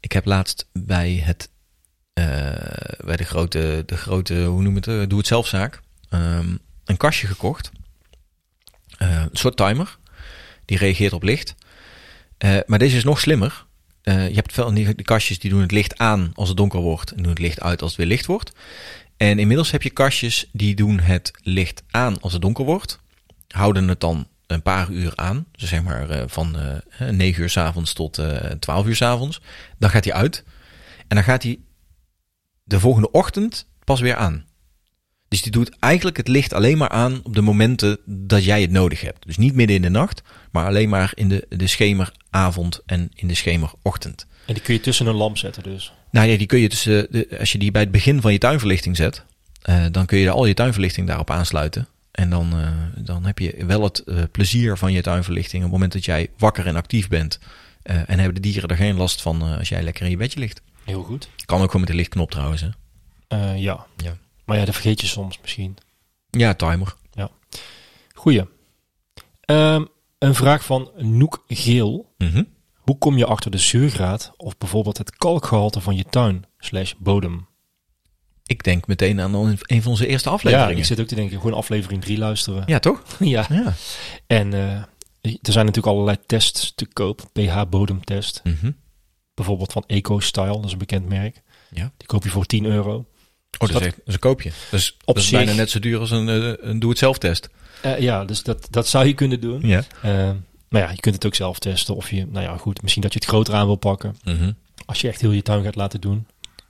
S2: Ik heb laatst bij het eh, bij de grote, de grote, hoe noem je het, eh, doe het zelfzaak, ehm, een kastje gekocht. Eh, een soort timer. Die reageert op licht. Eh, maar deze is nog slimmer. Eh, eh, je hebt veel van die, die kastjes die doen het licht aan als het donker wordt en doen het licht uit als het weer licht wordt. En inmiddels heb je kastjes die doen het licht aan als het donker wordt. Houden het dan een paar uur aan. Dus zeg maar eh, van eh 9 uur s avonds tot eh 12 uur s avonds. Dan gaat hij uit. En dan gaat hij de volgende ochtend pas weer aan. Dus die doet eigenlijk het licht alleen maar aan op de momenten dat jij het nodig hebt. Dus niet midden in de nacht, maar alleen maar in de, de schemeravond en in de schemerochtend.
S1: En die kun je tussen een lamp zetten dus.
S2: Nou ja, die kun je tussen de, als je die bij het begin van je tuinverlichting zet, eh, dan kun je al je tuinverlichting daarop aansluiten. En dan, eh, dan heb je wel het eh, plezier van je tuinverlichting op het moment dat jij wakker en actief bent. Eh, en hebben de dieren er geen last van eh, als jij lekker in je bedje ligt.
S1: Heel goed.
S2: Kan ook gewoon met de lichtknop trouwens. Hè?
S1: Eh, ja.
S2: Ja.
S1: Maar ja, dat vergeet je soms misschien.
S2: Ja, timer.
S1: Goeie. Ehm, een vraag van Noek Geel.
S2: Mhm.
S1: Hoe kom je achter de zuurgraad of bijvoorbeeld het kalkgehalte van je tuin slash bodem?
S2: Ik denk meteen aan on- een van onze eerste
S1: Ja,
S2: afleveringen.
S1: ik zit ook te denken, gewoon aflevering 3 luisteren.
S2: Ja, toch?
S1: ja.
S2: Ja.
S1: En eh, er zijn natuurlijk allerlei tests te koop. pH-bodemtest.
S2: Mhm.
S1: Bijvoorbeeld van EcoStyle, dat is een bekend merk.
S2: Ja.
S1: Die koop je voor 10 euro.
S2: Oh, dat,
S1: dat-
S2: is echt- dat is een koopje. Dus
S1: Op
S2: dat is
S1: zich-
S2: bijna net zo duur als een, eh, een doe-het-zelf-test.
S1: Eh, ja, dus dat, dat zou je kunnen doen.
S2: Ja.
S1: Eh, maar ja, je kunt het ook zelf testen. Of je, nou ja, goed, misschien dat je het groter aan wil pakken.
S2: Mhm.
S1: Als je echt heel je tuin gaat laten doen.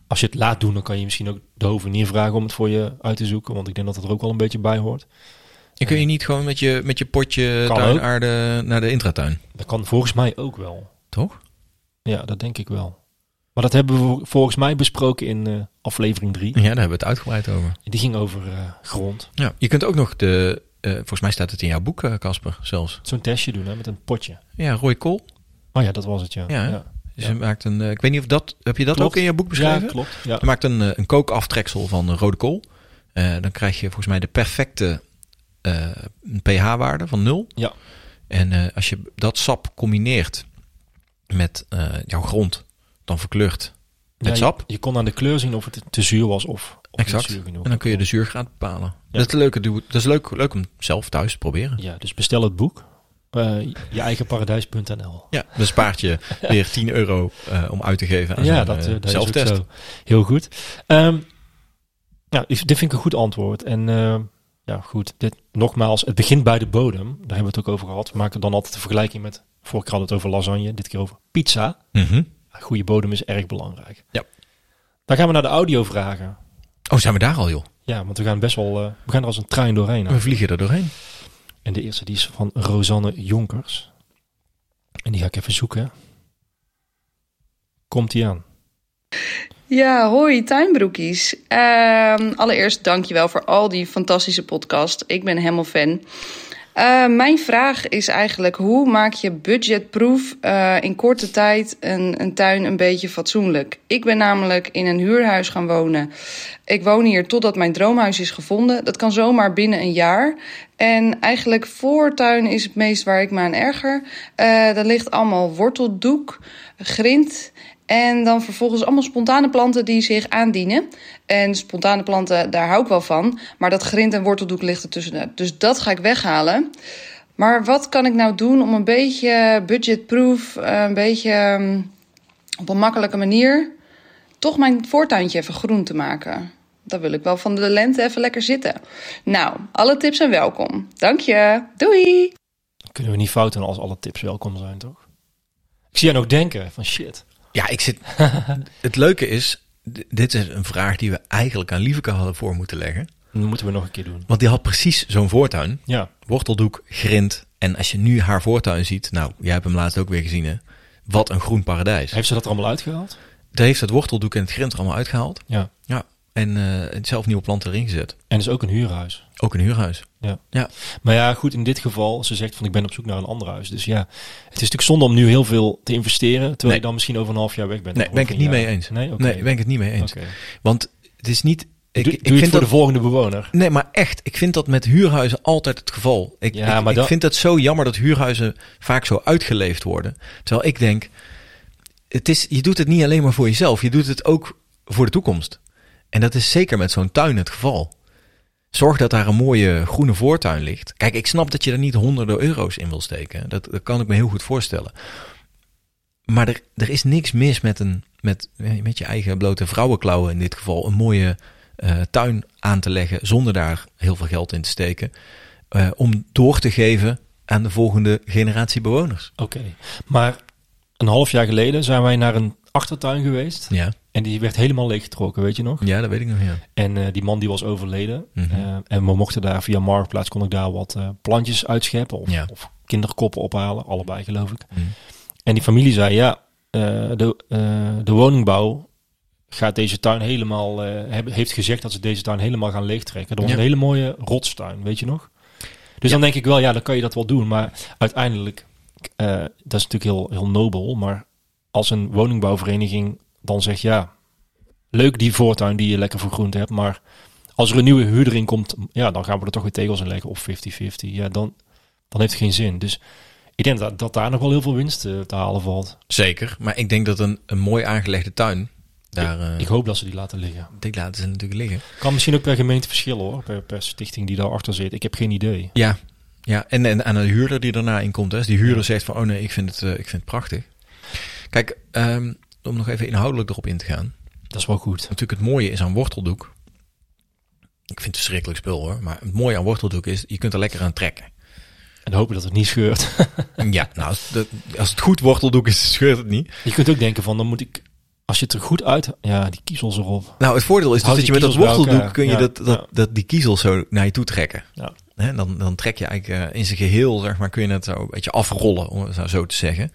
S1: Als je het laat doen, dan kan je misschien ook de hovenier vragen om het voor je uit te zoeken. Want ik denk dat het er ook wel een beetje bij hoort.
S2: En kun je niet gewoon met je, met je potje
S1: Kan
S2: tuinaarde naar de intratuin?
S1: Dat kan volgens mij ook wel.
S2: Toch?
S1: Ja, dat denk ik wel. Maar dat hebben we vol- volgens mij besproken in eh, aflevering 3.
S2: Ja, daar hebben we het uitgebreid over.
S1: Die ging over eh, grond.
S2: Ja. Je kunt ook nog de... eh, volgens mij staat het in jouw boek, eh, Casper, zelfs.
S1: Zo'n testje doen hè, met een potje.
S2: Ja, Roy Kool.
S1: Oh ja, dat was het, ja.
S2: Ja, hè?
S1: ja.
S2: Dus
S1: Ja.
S2: hij maakt een... eh, ik weet niet of dat... Heb je dat
S1: Klopt.
S2: ook in je boek beschreven?
S1: Ja, klopt. Ja.
S2: Hij maakt een, eh, een kookaftreksel van eh, rode kool. Eh, dan krijg je volgens mij de perfecte eh, pH-waarde van 0.
S1: Ja.
S2: En eh, als je dat sap combineert met eh, jouw grond, dan verkleurt het
S1: Ja, je-
S2: sap.
S1: Je, kon aan de kleur zien of het te zuur was of, of
S2: Exact.
S1: niet zuur genoeg.
S2: En dan kun je de zuurgraad bepalen.
S1: Ja.
S2: Dat is, een leuke, doe- dat is leuk, leuk om zelf thuis te proberen.
S1: Ja, dus bestel het boek. eh je eigenparadijs.nl
S2: Ja, dan spaart je weer 10 euro eh, om uit te geven aan
S1: Ja,
S2: zo'n,
S1: dat,
S2: eh,
S1: eh, dat is ook
S2: zelftest.
S1: zo. Heel goed. Ehm, nou, ik- dit vind ik een goed antwoord. En ehm, ja, goed. Dit, nogmaals, het begint bij de bodem. Daar hebben we het ook over gehad. We maken dan altijd de vergelijking met... Vorige keer hadden we het over lasagne, dit keer over pizza.
S2: Mhm.
S1: Een goede bodem is erg belangrijk.
S2: Ja.
S1: Dan gaan we naar de audio vragen.
S2: Oh, zijn we daar al, joh?
S1: Ja, want we gaan best wel... eh, we gaan er als een trein doorheen.
S2: We vliegen er doorheen.
S1: En de eerste die is van Rosanne Jonkers. En die ga ik even zoeken. Komt die aan?
S4: Ja, hoi tuinbroekies. Ehm allereerst dankjewel voor al die fantastische podcast. Ik ben helemaal fan. Eh, mijn vraag is eigenlijk: hoe maak je budgetproof eh, in korte tijd een, een tuin een beetje fatsoenlijk? Ik ben namelijk in een huurhuis gaan wonen. Ik woon hier totdat mijn droomhuis is gevonden. Dat kan zomaar binnen een jaar. En eigenlijk voortuin is het meest waar ik me aan erger. Eh daar ligt allemaal worteldoek, grind. En dan vervolgens allemaal spontane planten die zich aandienen. En spontane planten, daar hou ik wel van. Maar dat grind en worteldoek ligt er tussenuit. Dus dat ga ik weghalen. Maar wat kan ik nou doen om een beetje budgetproof, eh, een beetje ehm, op een makkelijke manier, toch mijn voortuintje even groen te maken? Dan wil ik wel van de lente even lekker zitten. Nou, alle tips zijn welkom. Dank je. Doei!
S1: Kunnen we niet fout doen als alle tips welkom zijn, toch? Ik zie jou nog denken van shit.
S2: Ja, ik zit. het leuke is, d- dit is een vraag die we eigenlijk aan Lieveke hadden voor moeten leggen.
S1: Dat moeten we nog een keer doen.
S2: Want die had precies zo'n voortuin.
S1: Ja,
S2: Worteldoek, grind. En als je nu haar voortuin ziet, nou, jij hebt hem laatst ook weer gezien, hè? Wat een groen paradijs.
S1: heeft ze dat er allemaal uitgehaald?
S2: Daar heeft het worteldoek en het grind er allemaal uitgehaald.
S1: Ja.
S2: Ja. En eh, het zelf nieuwe planten erin gezet.
S1: En is ook een huurhuis.
S2: Ook een huurhuis.
S1: Maar ja, goed, in dit geval, ze zegt van ik ben op zoek naar een ander huis. Dus ja, het is natuurlijk zonde om nu heel veel te investeren, terwijl
S2: Nee.
S1: je dan misschien over een half jaar weg bent.
S2: Nee,
S1: Of
S2: ben ik
S1: over
S2: het
S1: een
S2: niet mee
S1: jaar.
S2: eens.
S1: Nee, oké.
S2: Nee, ben ik het niet mee eens.
S1: Oké.
S2: Want het is niet. Ik,
S1: doe
S2: ik
S1: doe je het
S2: vind
S1: voor
S2: dat,
S1: de volgende bewoner.
S2: Nee, maar echt, ik vind dat met huurhuizen altijd het geval. Ik,
S1: Ja,
S2: ik,
S1: maar
S2: ik
S1: dat-
S2: vind dat zo jammer dat huurhuizen vaak zo uitgeleefd worden. Terwijl ik denk, het is, je doet het niet alleen maar voor jezelf, je doet het ook voor de toekomst. En dat is zeker met zo'n tuin het geval. Zorg dat daar een mooie groene voortuin ligt. Kijk, ik snap dat je er niet honderden euro's in wil steken. Dat, dat kan ik me heel goed voorstellen. Maar er, er is niks mis met, een, met, met je eigen blote vrouwenklauwen in dit geval. Een mooie eh, tuin aan te leggen zonder daar heel veel geld in te steken. eh, om door te geven aan de volgende generatie bewoners.
S1: Oké, maar een half jaar geleden zijn wij naar een achtertuin geweest.
S2: Ja,
S1: En die werd helemaal leeggetrokken, weet je nog?
S2: ja dat weet ik nog. Ja.
S1: En eh, die man die was overleden.
S2: Mhm.
S1: Eh, en we mochten daar via Marktplaats, kon ik daar wat eh, plantjes uitscheppen. Of,
S2: Ja.
S1: of kinderkoppen ophalen, allebei geloof ik.
S2: Mhm.
S1: En die familie zei, ja, eh, de, eh, de woningbouw gaat deze tuin helemaal, eh, hebben- heeft gezegd dat ze deze tuin helemaal gaan leegtrekken. Dat was
S2: Ja.
S1: een hele mooie rotstuin, weet je nog? Dus dan denk ik wel, ja, dan kan je dat wel doen. Maar uiteindelijk, eh, dat is natuurlijk heel, heel nobel. Maar als een woningbouwvereniging dan zegt, ja, leuk die voortuin die je lekker vergroend hebt. Maar als er een nieuwe huurder in komt, ja, dan gaan we er toch weer tegels in leggen. Of 50-50. Ja, dan, dan heeft het geen zin. Dus ik denk dat, dat daar nog wel heel veel winst eh, te halen valt.
S2: Zeker, maar ik denk dat een, een mooi aangelegde tuin daar... eh,
S1: Ik hoop dat ze die laten liggen.
S2: ik laten ze natuurlijk liggen.
S1: Kan misschien ook per gemeente verschillen hoor. Per, per stichting die daarachter zit. Ik heb geen idee.
S2: Ja, ja. En, en aan de huurder die daarna inkomt. Hè. Als die huurder zegt van, oh nee, ik vind het, eh, ik vind het prachtig. Kijk, ehm, om nog even inhoudelijk erop in te gaan.
S1: Dat is wel goed.
S2: Natuurlijk het mooie is aan worteldoek. Ik vind het een verschrikkelijk spul hoor. Maar het mooie aan worteldoek is, je kunt er lekker aan trekken.
S1: En hopen dat het niet scheurt.
S2: Ja, nou, als het, als het goed worteldoek is, scheurt het niet.
S1: je kunt ook denken van, dan moet ik... Als je het er goed uit... Ja, die kiezels erop.
S2: Nou, het voordeel is dus
S1: Houd
S2: dat je
S1: die
S2: met dat
S1: kiezels bij
S2: worteldoek
S1: elkaar.
S2: kun je
S1: Ja,
S2: dat, dat,
S1: ja.
S2: dat die kiezels zo naar je toe trekken.
S1: Ja.
S2: Hè, dan, dan trek je eigenlijk eh, in zijn geheel, zeg maar, kun je het zo een beetje afrollen, om het nou zo te zeggen.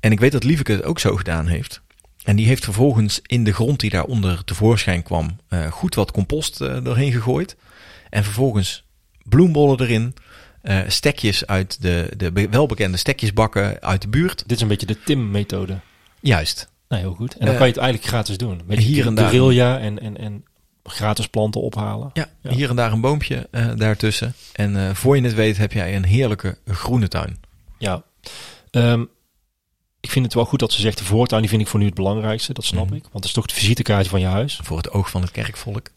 S2: En ik weet dat Lieveke het ook zo gedaan heeft. En die heeft vervolgens in de grond die daaronder tevoorschijn kwam, eh, goed wat compost eh, doorheen gegooid. En vervolgens bloembollen erin, eh, stekjes uit de, de be- welbekende stekjesbakken uit de buurt.
S1: Dit is een beetje de Tim-methode.
S2: Juist.
S1: Nou, heel goed. En dan
S2: Eh,
S1: kan je het eigenlijk gratis doen. Met
S2: hier
S1: hier
S2: en
S1: en
S2: daar.
S1: guerrilla en, en, en gratis planten ophalen.
S2: Ja,
S1: Ja.
S2: hier en daar een boompje eh, daartussen. En eh, voor je het weet heb jij een heerlijke groene tuin.
S1: Ja. Ehm, ik vind het wel goed dat ze zegt de voortuin, die vind ik voor nu het belangrijkste. Dat snap
S2: Mhm.
S1: ik. Want dat is toch de visitekaartje van je huis.
S2: Voor het oog van het kerkvolk.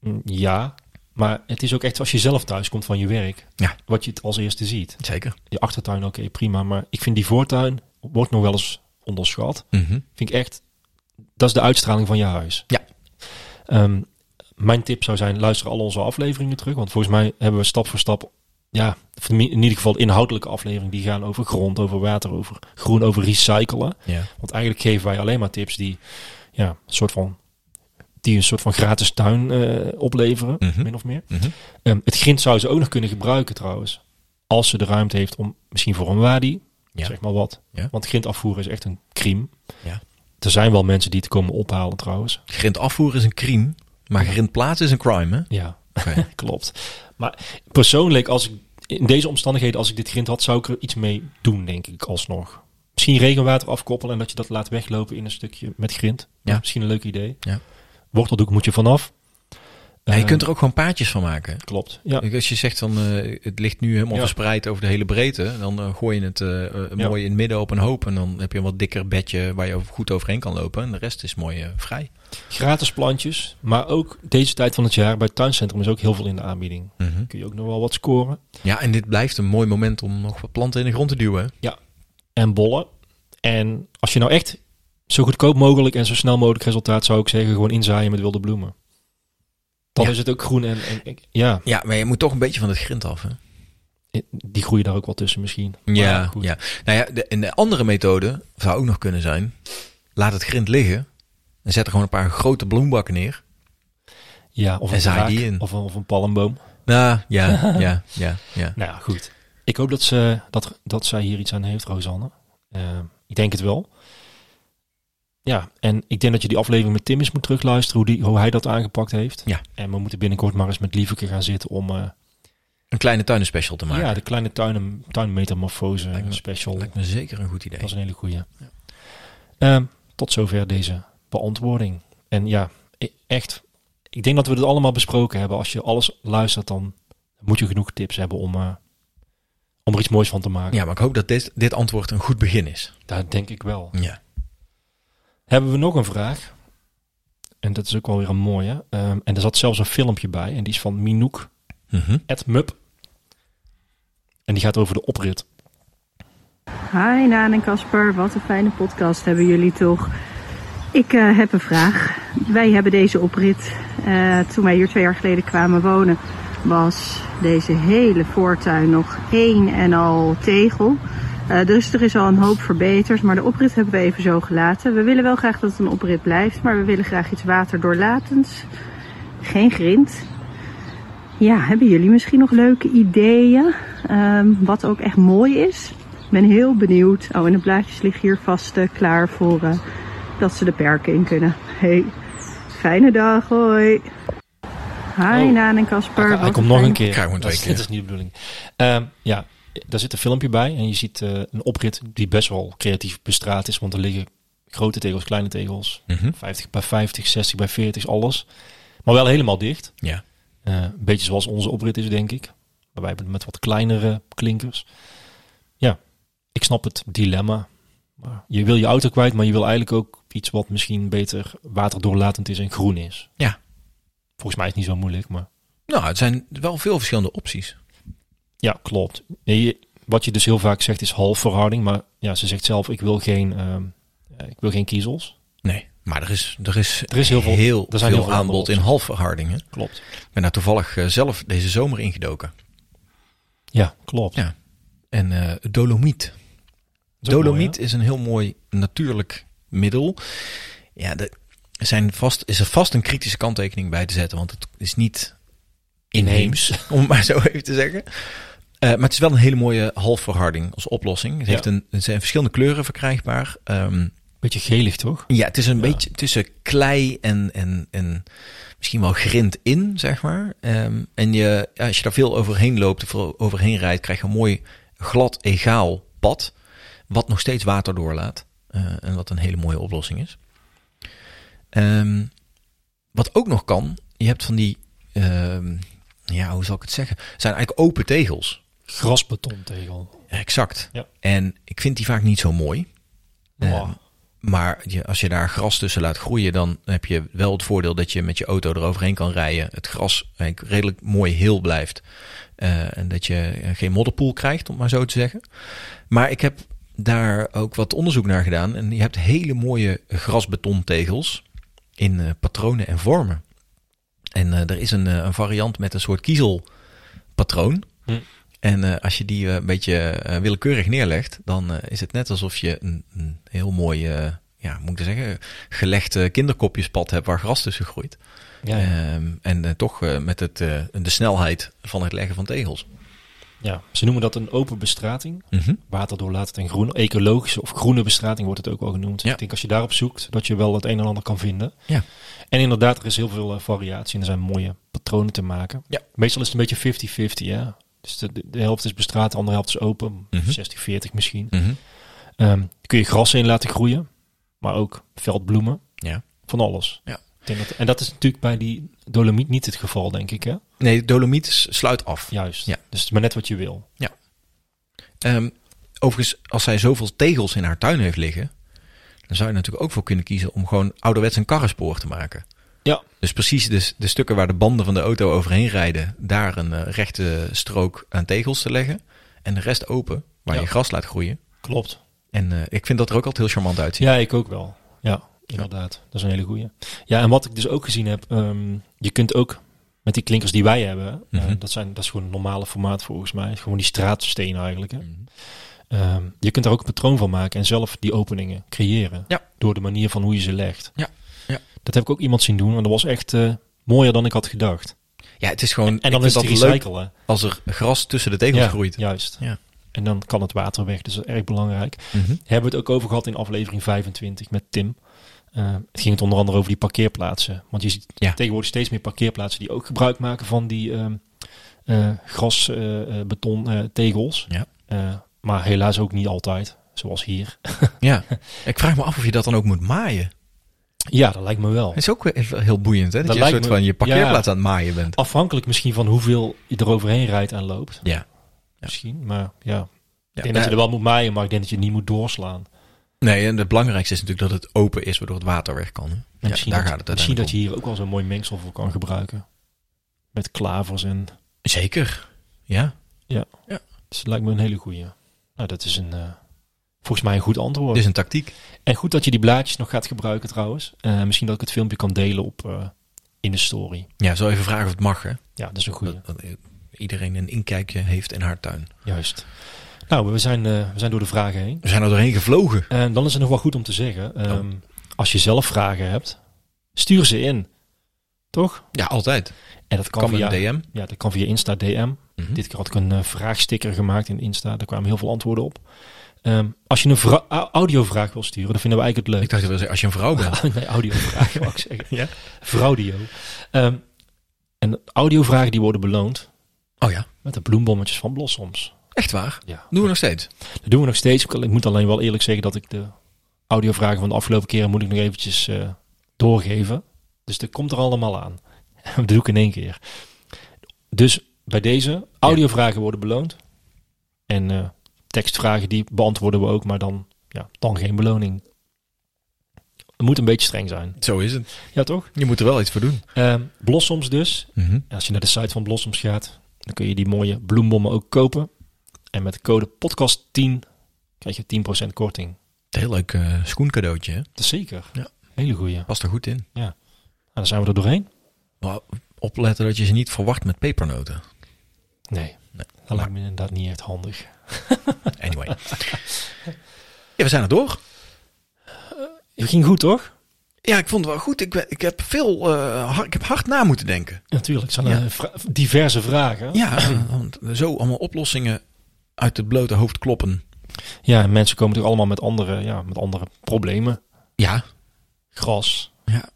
S1: Mm, Ja. Maar het is ook echt als je zelf thuis komt van je werk.
S2: Ja.
S1: Wat je het als eerste ziet.
S2: Zeker.
S1: Je achtertuin, oké, prima. Maar ik vind die voortuin wordt nog wel eens onderschat.
S2: Mhm.
S1: Vind ik echt, dat is de uitstraling van je huis.
S2: Ja.
S1: Ehm, mijn tip zou zijn, luister al onze afleveringen terug. Want volgens mij hebben we stap voor stap, ja, of in ieder geval inhoudelijke afleveringen. Die gaan over grond, over water, over groen, over recyclen.
S2: Ja.
S1: Want eigenlijk geven wij alleen maar tips die, ja, een soort van, die een soort van gratis tuin eh, opleveren,
S2: Mhm.
S1: min of meer.
S2: Mhm.
S1: Ehm, het grind zou ze ook nog kunnen gebruiken trouwens. Als ze de ruimte heeft om misschien voor een wadi,
S2: Ja.
S1: zeg maar wat.
S2: Ja.
S1: Want grind afvoeren is echt een crime.
S2: Ja.
S1: Er zijn wel mensen die het komen ophalen trouwens.
S2: Grind afvoer is een crime, maar grind plaatsen is een crime, hè?
S1: Ja,
S2: Oké.
S1: klopt. Maar persoonlijk, als ik in deze omstandigheden, als ik dit grind had, zou ik er iets mee doen, denk ik, alsnog. Misschien regenwater afkoppelen en dat je dat laat weglopen in een stukje met grind.
S2: Ja.
S1: Misschien een leuk idee.
S2: Ja.
S1: Worteldoek moet je vanaf.
S2: Ja, je
S1: Eh,
S2: kunt er ook gewoon paadjes van maken.
S1: Klopt. Ja.
S2: Als je zegt van eh, het ligt nu helemaal
S1: Ja.
S2: verspreid over de hele breedte, dan eh, gooi je het eh, eh,
S1: Ja.
S2: mooi in het midden op een hoop. En dan heb je een wat dikker bedje waar je over- goed overheen kan lopen. En de rest is mooi eh, vrij.
S1: Gratis plantjes, maar ook deze tijd van het jaar bij het tuincentrum is ook heel veel in de aanbieding.
S2: Mhm.
S1: kun je ook nog wel wat scoren.
S2: Ja, en dit blijft een mooi moment om nog wat planten in de grond te duwen. hè?
S1: En bollen. En als je nou echt zo goedkoop mogelijk en zo snel mogelijk resultaat zou ik zeggen, gewoon inzaaien met wilde bloemen. Dan
S2: Ja.
S1: is het ook groen en, en- en- ja,
S2: Ja, maar je moet toch een beetje van het grind af, hè?
S1: die groeien daar ook wel tussen misschien. Maar
S2: Ja,
S1: goed.
S2: ja. Nou ja, de, en de andere methode zou ook nog kunnen zijn: laat het grind liggen en zet er gewoon een paar grote bloembakken neer.
S1: ja of
S2: En
S1: een
S2: zaai
S1: draak,
S2: die in.
S1: Of, een- of een palmboom.
S2: Nou, ja, ja, ja, ja.
S1: Nou ja, goed. Ik hoop dat, ze, dat, dat zij hier iets aan heeft, Rosanne. Eh, ik denk het wel. Ja, en ik denk dat je die aflevering met Tim eens moet terugluisteren, hoe, die, hoe hij dat aangepakt heeft.
S2: Ja.
S1: En we moeten binnenkort maar eens met Lieveke gaan zitten om... eh,
S2: Een kleine tuinenspecial te maken.
S1: Ja, de kleine tuin, tuinmetamorfose
S2: Lijkt me-
S1: special.
S2: Lijkt me zeker een goed idee.
S1: Dat is een hele goeie. Ehm, tot zover deze beantwoording. En ja, e- echt, ik denk dat we dit allemaal besproken hebben. Als je alles luistert, dan moet je genoeg tips hebben om, eh, om er iets moois van te maken.
S2: Ja, maar ik hoop dat dit, dit antwoord een goed begin is.
S1: Daar denk ik wel.
S2: Ja.
S1: Hebben we nog een vraag? En dat is ook wel weer een mooie. Ehm, en er zat zelfs een filmpje bij. En die is van Minouk
S2: Mhm.
S1: Mup. En die gaat over de oprit.
S5: Hi Naan en Casper, wat een fijne podcast hebben jullie toch. Ik eh, heb een vraag. Wij hebben deze oprit. eh, toen wij hier twee jaar geleden kwamen wonen, was deze hele voortuin nog één en al tegel. Eh, dus er is al een hoop verbeterd, maar de oprit hebben we even zo gelaten. We willen wel graag dat het een oprit blijft, maar we willen graag iets waterdoorlatends. Geen grind, ja, hebben jullie misschien nog leuke ideeën? Ehm, wat ook echt mooi is? Ik ben heel benieuwd. Oh, en de blaadjes liggen hier vast eh, klaar voor eh, dat ze de perken in kunnen. Hey, fijne dag, hoi. Hi
S1: Oh.
S5: Naan en Casper.
S1: Hij,
S5: wat
S1: hij komt nog
S5: fijn-
S1: een keer.
S2: Krijg gewoon twee
S1: dat, is-
S2: keer.
S1: dat is niet de bedoeling. Ehm, ja, daar zit een filmpje bij. En je ziet eh, een oprit die best wel creatief bestraat is. Want er liggen grote tegels, kleine tegels.
S2: Mhm.
S1: 50 bij 50, 60 bij 40, alles. Maar wel helemaal dicht.
S2: Ja.
S1: Eh, een beetje zoals onze oprit is, denk ik. Maar wij hebben het met wat kleinere klinkers. Ja, ik snap het dilemma. Maar Je wil je auto kwijt, maar je wil eigenlijk ook iets wat misschien beter waterdoorlatend is en groen is.
S2: Ja.
S1: Volgens mij is het niet zo moeilijk, maar...
S2: Nou, het zijn wel veel verschillende opties.
S1: Ja, klopt. Nee, je- wat je dus heel vaak zegt is halfverhouding. Maar ja, ze zegt zelf, ik wil geen, ehm, eh, ik wil geen kiezels.
S2: Nee, maar er is, er is,
S1: Er is heel veel- er zijn heel
S2: veel
S1: veel
S2: aanbod
S1: andere
S2: in halfverhardingen.
S1: Klopt.
S2: Ik ben daar toevallig eh, zelf deze zomer ingedoken.
S1: Ja, klopt.
S2: Ja. En eh, dolomiet.
S1: is ook
S2: Dolomiet
S1: mooi,
S2: is een heel mooi natuurlijk middel. Ja, er zijn vast, is er vast een kritische kanttekening bij te zetten, want het is niet inheems, om het maar zo even te zeggen. Eh, maar het is wel een hele mooie halfverharding als oplossing. Het,
S1: Ja.
S2: heeft een, er zijn verschillende kleuren verkrijgbaar. Ehm,
S1: Beetje gelig, toch?
S2: ja, het is een
S1: Ja.
S2: beetje tussen klei en, en, en misschien wel grind in, zeg maar. Ehm, en je, ja, als je daar veel overheen loopt, veel overheen rijdt, krijg je een mooi glad, egaal pad. Wat nog steeds water doorlaat. Eh, en wat een hele mooie oplossing is. Ehm, wat ook nog kan, je hebt van die, ehm, ja, hoe zal ik het zeggen? Het zijn eigenlijk open tegels.
S1: Grasbetontegel.
S2: Exact.
S1: Ja.
S2: En ik vind die vaak niet zo mooi. Ehm,
S1: Wow.
S2: maar je, als je daar gras tussen laat groeien, dan heb je wel het voordeel dat je met je auto eroverheen kan rijden. Het gras eigenlijk redelijk mooi heel blijft. Eh, en dat je eh, geen modderpoel krijgt, om maar zo te zeggen. Maar ik heb daar ook wat onderzoek naar gedaan. En je hebt hele mooie grasbetontegels in eh, patronen en vormen. En eh, er is een, eh, een variant met een soort kiezelpatroon.
S1: Hm.
S2: En eh, als je die eh, een beetje eh, willekeurig neerlegt, dan eh, is het net alsof je een, een heel mooi, eh, ja, hoe moet ik het zeggen, gelegd eh, kinderkopjespad hebt waar gras tussen groeit.
S1: Ja, ja.
S2: Ehm, en eh, toch eh, met het, eh, de snelheid van het leggen van tegels.
S1: ja, ze noemen dat een open bestrating. Waterdoorlatend en groen. Ecologische of groene bestrating wordt het ook wel genoemd.
S2: Ja.
S1: Ik denk als je daarop zoekt, dat je wel het een en ander kan vinden.
S2: Ja.
S1: En inderdaad, er is heel veel eh, variatie en er zijn mooie patronen te maken.
S2: Ja.
S1: Meestal is het een beetje 50-50, ja. Dus de, de- de helft is bestraat, de andere helft is open.
S2: Mhm.
S1: 60-40 misschien.
S2: Mhm.
S1: Ehm, kun je gras in laten groeien, maar ook veldbloemen,
S2: Ja.
S1: van alles.
S2: Ja.
S1: Ik denk dat, en dat is natuurlijk bij die dolomiet niet het geval, denk ik, hè?
S2: Nee, dolomiet s- sluit af.
S1: Juist.
S2: Ja.
S1: Dus het is maar net wat je wil.
S2: Ehm, overigens, als zij zoveel tegels in haar tuin heeft liggen, dan zou je natuurlijk ook voor kunnen kiezen om gewoon ouderwets een karrenspoor te maken.
S1: Ja.
S2: Dus precies de, de stukken waar de banden van de auto overheen rijden, daar een eh, rechte strook aan tegels te leggen. En de rest open, waar
S1: Ja.
S2: je gras laat groeien.
S1: Klopt.
S2: En eh, ik vind dat er ook altijd heel charmant uitziet.
S1: Ja, ik ook wel. Ja, inderdaad. Dat is een hele goeie. Ja, en wat ik dus ook gezien heb, ehm, je kunt ook met die klinkers die wij hebben, eh,
S2: Mhm.
S1: dat, zijn, dat is gewoon een normale formaat volgens mij, gewoon die straatstenen eigenlijk. Hè?
S2: Mhm.
S1: Ehm, je kunt daar ook een patroon van maken en zelf die openingen creëren.
S2: Ja.
S1: Door de manier van hoe je ze legt.
S2: Ja, ja.
S1: Dat heb ik ook iemand zien doen en dat was echt eh, mooier dan ik had gedacht.
S2: Ja, het is gewoon.
S1: En dan
S2: ik
S1: is
S2: vind
S1: het
S2: dat leuk
S1: recyclen.
S2: als er gras tussen de tegels
S1: ja,
S2: groeit.
S1: Juist.
S2: Ja.
S1: En dan kan het water weg, dus dat is erg belangrijk.
S2: Mhm.
S1: Hebben we het ook over gehad in aflevering 25 met Tim. Eh, het ging het onder andere over die parkeerplaatsen. Want je ziet
S2: Ja.
S1: tegenwoordig steeds meer parkeerplaatsen die ook gebruik maken van die ehm eh, grasbeton tegels.
S2: Ja.
S1: Eh, maar helaas ook niet altijd, zoals hier.
S2: Ja. Ik vraag me af of je dat dan ook moet maaien.
S1: Ja, dat lijkt me wel.
S2: Het is ook weer even heel boeiend, hè? Dat,
S1: Dat
S2: je een soort
S1: lijkt me-
S2: van je parkeerplaats
S1: Ja.
S2: aan het maaien bent.
S1: Afhankelijk misschien van hoeveel je er overheen rijdt en loopt.
S2: Ja.
S1: Misschien, maar ja.
S2: Ja,
S1: Ik denk dat
S2: nou,
S1: je er wel moet maaien, maar ik denk dat je het niet moet doorslaan.
S2: Nee, en het belangrijkste is natuurlijk dat het open is, waardoor het water weg kan. hè?
S1: En
S2: Ja,
S1: misschien
S2: daar
S1: dat,
S2: gaat het
S1: misschien dat
S2: uiteindelijk
S1: je hier ook wel zo'n mooi mengsel voor kan gebruiken. Met klavers en...
S2: om. Zeker, ja.
S1: Dus het lijkt me een hele goeie. Nou, dat is een eh, Volgens mij een goed antwoord.
S2: Dit is een tactiek.
S1: En goed dat je die blaadjes nog gaat gebruiken trouwens. Eh, misschien dat ik het filmpje kan delen op, eh, in de story.
S2: Ja, zo even vragen of het mag, hè?
S1: Ja, dat is een goede.
S2: Dat, dat eh, iedereen een inkijkje heeft in haar tuin.
S1: Juist. Nou, we zijn, eh, we zijn door de vragen heen.
S2: We zijn er doorheen gevlogen.
S1: En dan is het nog wel goed om te zeggen. ehm, Als je zelf vragen hebt, stuur ze in. Toch?
S2: Ja, altijd.
S1: En dat kan,
S2: Kan met
S1: via, Hm.
S2: een DM.
S1: Ja, dat kan via Insta DM.
S2: Mhm.
S1: Dit keer had ik een eh, vraagsticker gemaakt in Insta. Daar kwamen heel veel antwoorden op. Ehm, als je een vra- au- audiovraag wil sturen, dan vinden we eigenlijk het leuk.
S2: Ik dacht, je wilde zeggen, als je een vrouw bent.
S1: nee, audiovraag mag ik zeggen. Ja? Vrouwdio. Ehm, en audiovragen die worden beloond
S2: Oh ja,
S1: met de bloembommetjes van Blossoms.
S2: echt waar.
S1: Ja.
S2: Doen we nog steeds.
S1: Dat doen we nog steeds. Ik moet alleen wel eerlijk zeggen dat ik de audiovragen van de afgelopen keren moet ik nog eventjes eh, doorgeven. Dus dat komt er allemaal aan. Dat doe ik in één keer. Dus bij deze, audiovragen worden beloond. En eh, tekstvragen die beantwoorden we ook, maar dan, ja, dan geen beloning. Het moet een beetje streng zijn.
S2: Zo is het.
S1: Ja, toch?
S2: Je moet er wel iets voor doen.
S1: Ehm, Blossoms dus. En Als je naar de site van Blossoms gaat, dan kun je die mooie bloembommen ook kopen. En met de code podcast10 krijg je 10% korting.
S2: Heel leuk eh, schoencadeautje, hè?
S1: Dat is zeker.
S2: Ja.
S1: Hele goeie. Nou,
S2: Past er goed in.
S1: dan zijn we er doorheen.
S2: Maar opletten dat je ze niet verwacht met pepernoten.
S1: Nee.
S2: Nee.
S1: Dat lijkt me inderdaad niet echt handig.
S2: Anyway. ja, we zijn er door.
S1: Het ging goed, toch?
S2: Ja, ik vond het wel goed. Ik, ben- ik heb veel, eh, har- ik heb hard na moeten denken.
S1: Natuurlijk. Het zijn
S2: Ja.
S1: eh, vra- diverse vragen.
S2: Ja, want zo allemaal oplossingen uit het blote hoofd kloppen.
S1: Ja, en mensen komen natuurlijk allemaal met andere, ja, met andere problemen.
S2: Ja,
S1: Gras,
S2: ja.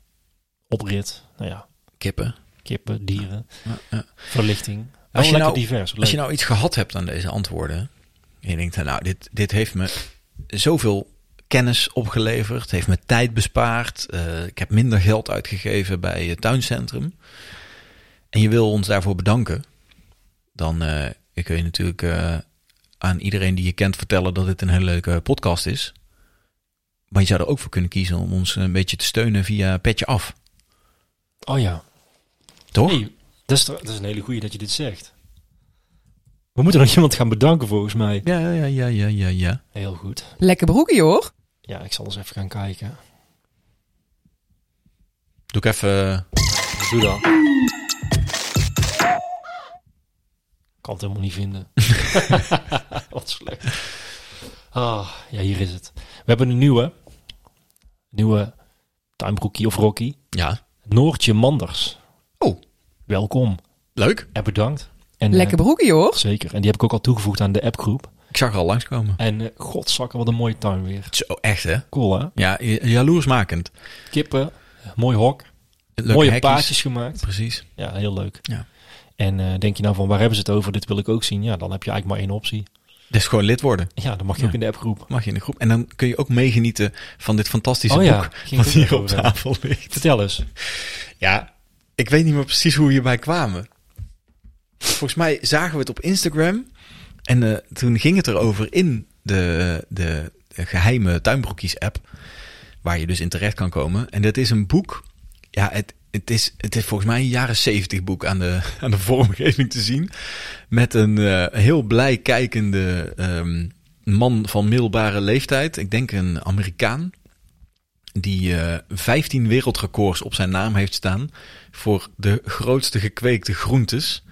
S1: oprit, nou ja,
S2: kippen.
S1: kippen, dieren,
S2: Ja, ja.
S1: verlichting.
S2: Als je
S1: lekker
S2: nou-
S1: divers. Leuk.
S2: Als je nou iets gehad hebt aan deze antwoorden. En je denkt, nou, dit, dit heeft me zoveel kennis opgeleverd. Heeft me tijd bespaard. eh, ik heb minder geld uitgegeven bij het tuincentrum. En je wil ons daarvoor bedanken. Dan eh, kun je natuurlijk eh, aan iedereen die je kent vertellen dat dit een hele leuke podcast is. Maar je zou er ook voor kunnen kiezen om ons een beetje te steunen via Petje Af. nou-
S1: Oh ja.
S2: Toch?
S1: Hey, dat, is, tr- dat is een hele goeie dat je dit zegt. We moeten nog iemand gaan bedanken volgens mij.
S2: Ja, ja, ja, ja, ja, ja.
S1: Heel goed.
S3: Lekker broekje hoor.
S1: Ja, ik zal eens even gaan kijken.
S2: Doe ik even... eh,
S1: Dus Doe dan. Ik kan het helemaal niet vinden. Wat slecht. Ah, ja, hier is het. We hebben een nieuwe. Nieuwe tuinbroekie of Rocky.
S2: Ja,
S1: Noortje Manders.
S2: Oh.
S1: Welkom.
S2: leuk.
S1: En bedankt. En, eh,
S3: Lekker broekje hoor.
S1: zeker. En die heb ik ook al toegevoegd aan de appgroep.
S2: Ik zag er al langskomen.
S1: En eh godzakken, wat een mooie tuin weer.
S2: Zo, echt hè?
S1: Cool hè?
S2: Ja, j- jaloersmakend.
S1: Kippen, mooi hok,
S2: Leuke
S1: mooie
S2: hekjes.
S1: paadjes gemaakt.
S2: Precies.
S1: Ja, heel leuk.
S2: Ja.
S1: En eh, denk je nou van waar hebben ze het over? Dit wil ik ook zien. Ja, dan heb je eigenlijk maar één optie.
S2: Dus gewoon lid worden.
S1: Ja, dan mag je
S2: Ja.
S1: ook in de appgroep.
S2: Mag je in de groep. En dan kun je ook meegenieten van dit fantastische
S1: Oh
S2: boek.
S1: ja, ging
S2: wat
S1: het ook
S2: hier op
S1: over
S2: tafel ligt.
S1: Vertel eens.
S2: Ja, ik weet niet meer precies hoe we hierbij kwamen. Volgens mij zagen we het op Instagram. En eh, toen ging het erover in de, de, de geheime tuinbroekjes app. Waar je dus in terecht kan komen. En dat is een boek. Ja, het, het, is, het is volgens mij een jaren zeventig boek aan de, aan de vormgeving te zien. Met een eh, heel blij kijkende ehm, man van middelbare leeftijd. Ik denk een Amerikaan die eh, 15 wereldrecords op zijn naam heeft staan voor de grootste gekweekte groentes.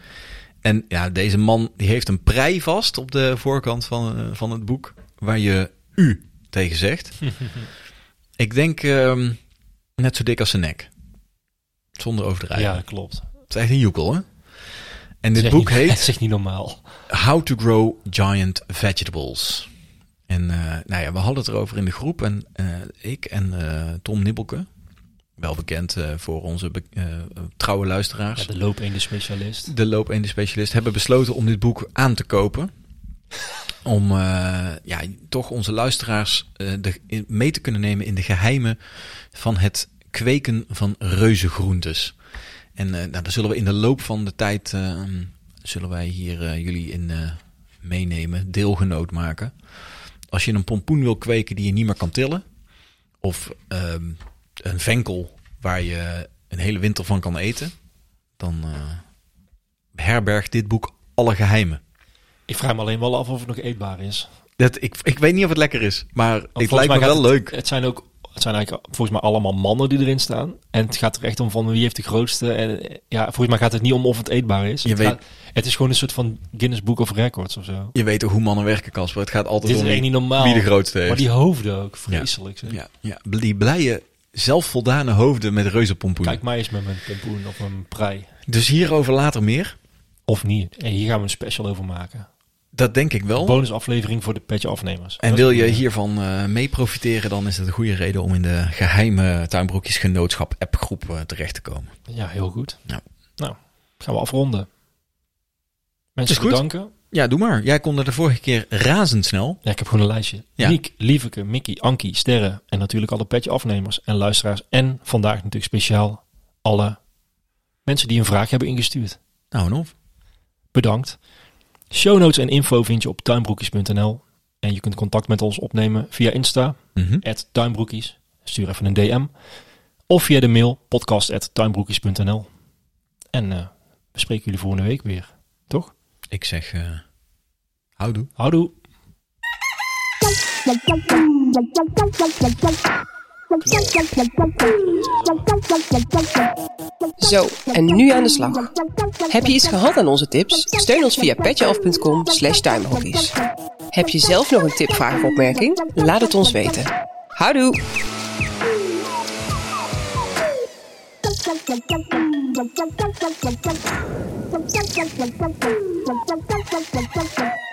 S2: En ja, deze man die heeft een prei vast op de voorkant van, eh, van het boek waar je u tegen zegt. Ik denk ehm, net zo dik als zijn nek. Zonder overdrijven.
S1: Ja, klopt.
S2: Het is echt een joekel, hè? En
S1: Het is
S2: dit
S1: echt
S2: boek
S1: niet-
S2: heet
S1: Het is echt niet normaal.
S2: How to Grow Giant Vegetables. En eh, nou ja, we hadden het erover in de groep. En eh, ik en eh, Tom Nibbelke, wel bekend eh, voor onze be- eh, trouwe
S1: Ja,
S2: luisteraars,
S1: de loopende specialist.
S2: de loopende specialist, hebben besloten om dit boek aan te kopen. Om eh, ja, toch onze luisteraars eh, de, in- mee te kunnen nemen in de geheimen van het kweken van reuzengroentes. En eh, nou, daar zullen we in de loop van de tijd, eh, zullen wij hier eh, jullie in eh, meenemen, deelgenoot maken. Als je een pompoen wil kweken die je niet meer kan tillen, of ehm, een venkel waar je een hele winter van kan eten, dan eh, herbergt dit boek alle geheimen.
S1: Ik vraag me alleen wel af of het nog eetbaar is.
S2: Dat, ik, ik weet niet of het lekker is, maar
S1: Want
S2: het lijkt me
S1: volgens mij
S2: wel
S1: gaat het-
S2: leuk.
S1: Het zijn ook het zijn eigenlijk volgens mij allemaal mannen die erin staan. En het gaat er echt om van wie heeft de grootste. En eh, ja, volgens mij gaat het niet om of het eetbaar is.
S2: Je
S1: het,
S2: weet-
S1: gaat- het is gewoon een soort van Guinness Book of Records of zo.
S2: Je weet toch hoe mannen werken, Casper. Het gaat altijd
S1: Dit is
S2: om
S1: echt niet normaal.
S2: wie de grootste heeft.
S1: Maar die hoofden ook, vreselijk. zeg.
S2: ja, ja, die blije, zelfvoldane hoofden met reuzenpompoen.
S1: Kijk mij eens met mijn pompoen of mijn prei.
S2: Dus hierover later meer.
S1: Of niet. En hier gaan we een special over maken.
S2: Dat denk ik wel.
S1: Bonusaflevering voor de petje afnemers.
S2: Oh. En wil je hiervan eh, mee profiteren, dan is het een goede reden om in de geheime tuinbroekjesgenootschap appgroep eh, terecht te komen.
S1: Ja, heel goed.
S2: Ja.
S1: Nou, gaan we afronden. Mensen
S2: Is goed.
S1: bedanken.
S2: Ja, doe maar. Jij kon er de vorige keer razendsnel.
S1: Ja, ik heb gewoon een lijstje.
S2: Ja.
S1: Niek, Lieveke, Mickey, Ankie, Sterren en natuurlijk alle petje afnemers en luisteraars. En vandaag natuurlijk speciaal alle mensen die een vraag hebben ingestuurd.
S2: Nou en of.
S1: Bedankt. Show notes en info vind je op tuinbroekjes.nl. En je kunt contact met ons opnemen via Insta,
S2: Mhm.
S1: at tuinbroekjes. Stuur even een DM. Of via de mail podcast at tuinbroekjes.nl. En eh, we spreken jullie volgende week weer. Toch?
S2: Ik zeg, eh houdoe.
S1: Houdoe.
S3: Zo, en nu aan de slag. Heb je iets gehad aan onze tips? Steun ons via petjeaf.com slash tuinbroekjes. Heb je zelf nog een tip, vraag of opmerking? Laat het ons weten. Houdoe!
S6: Thank you.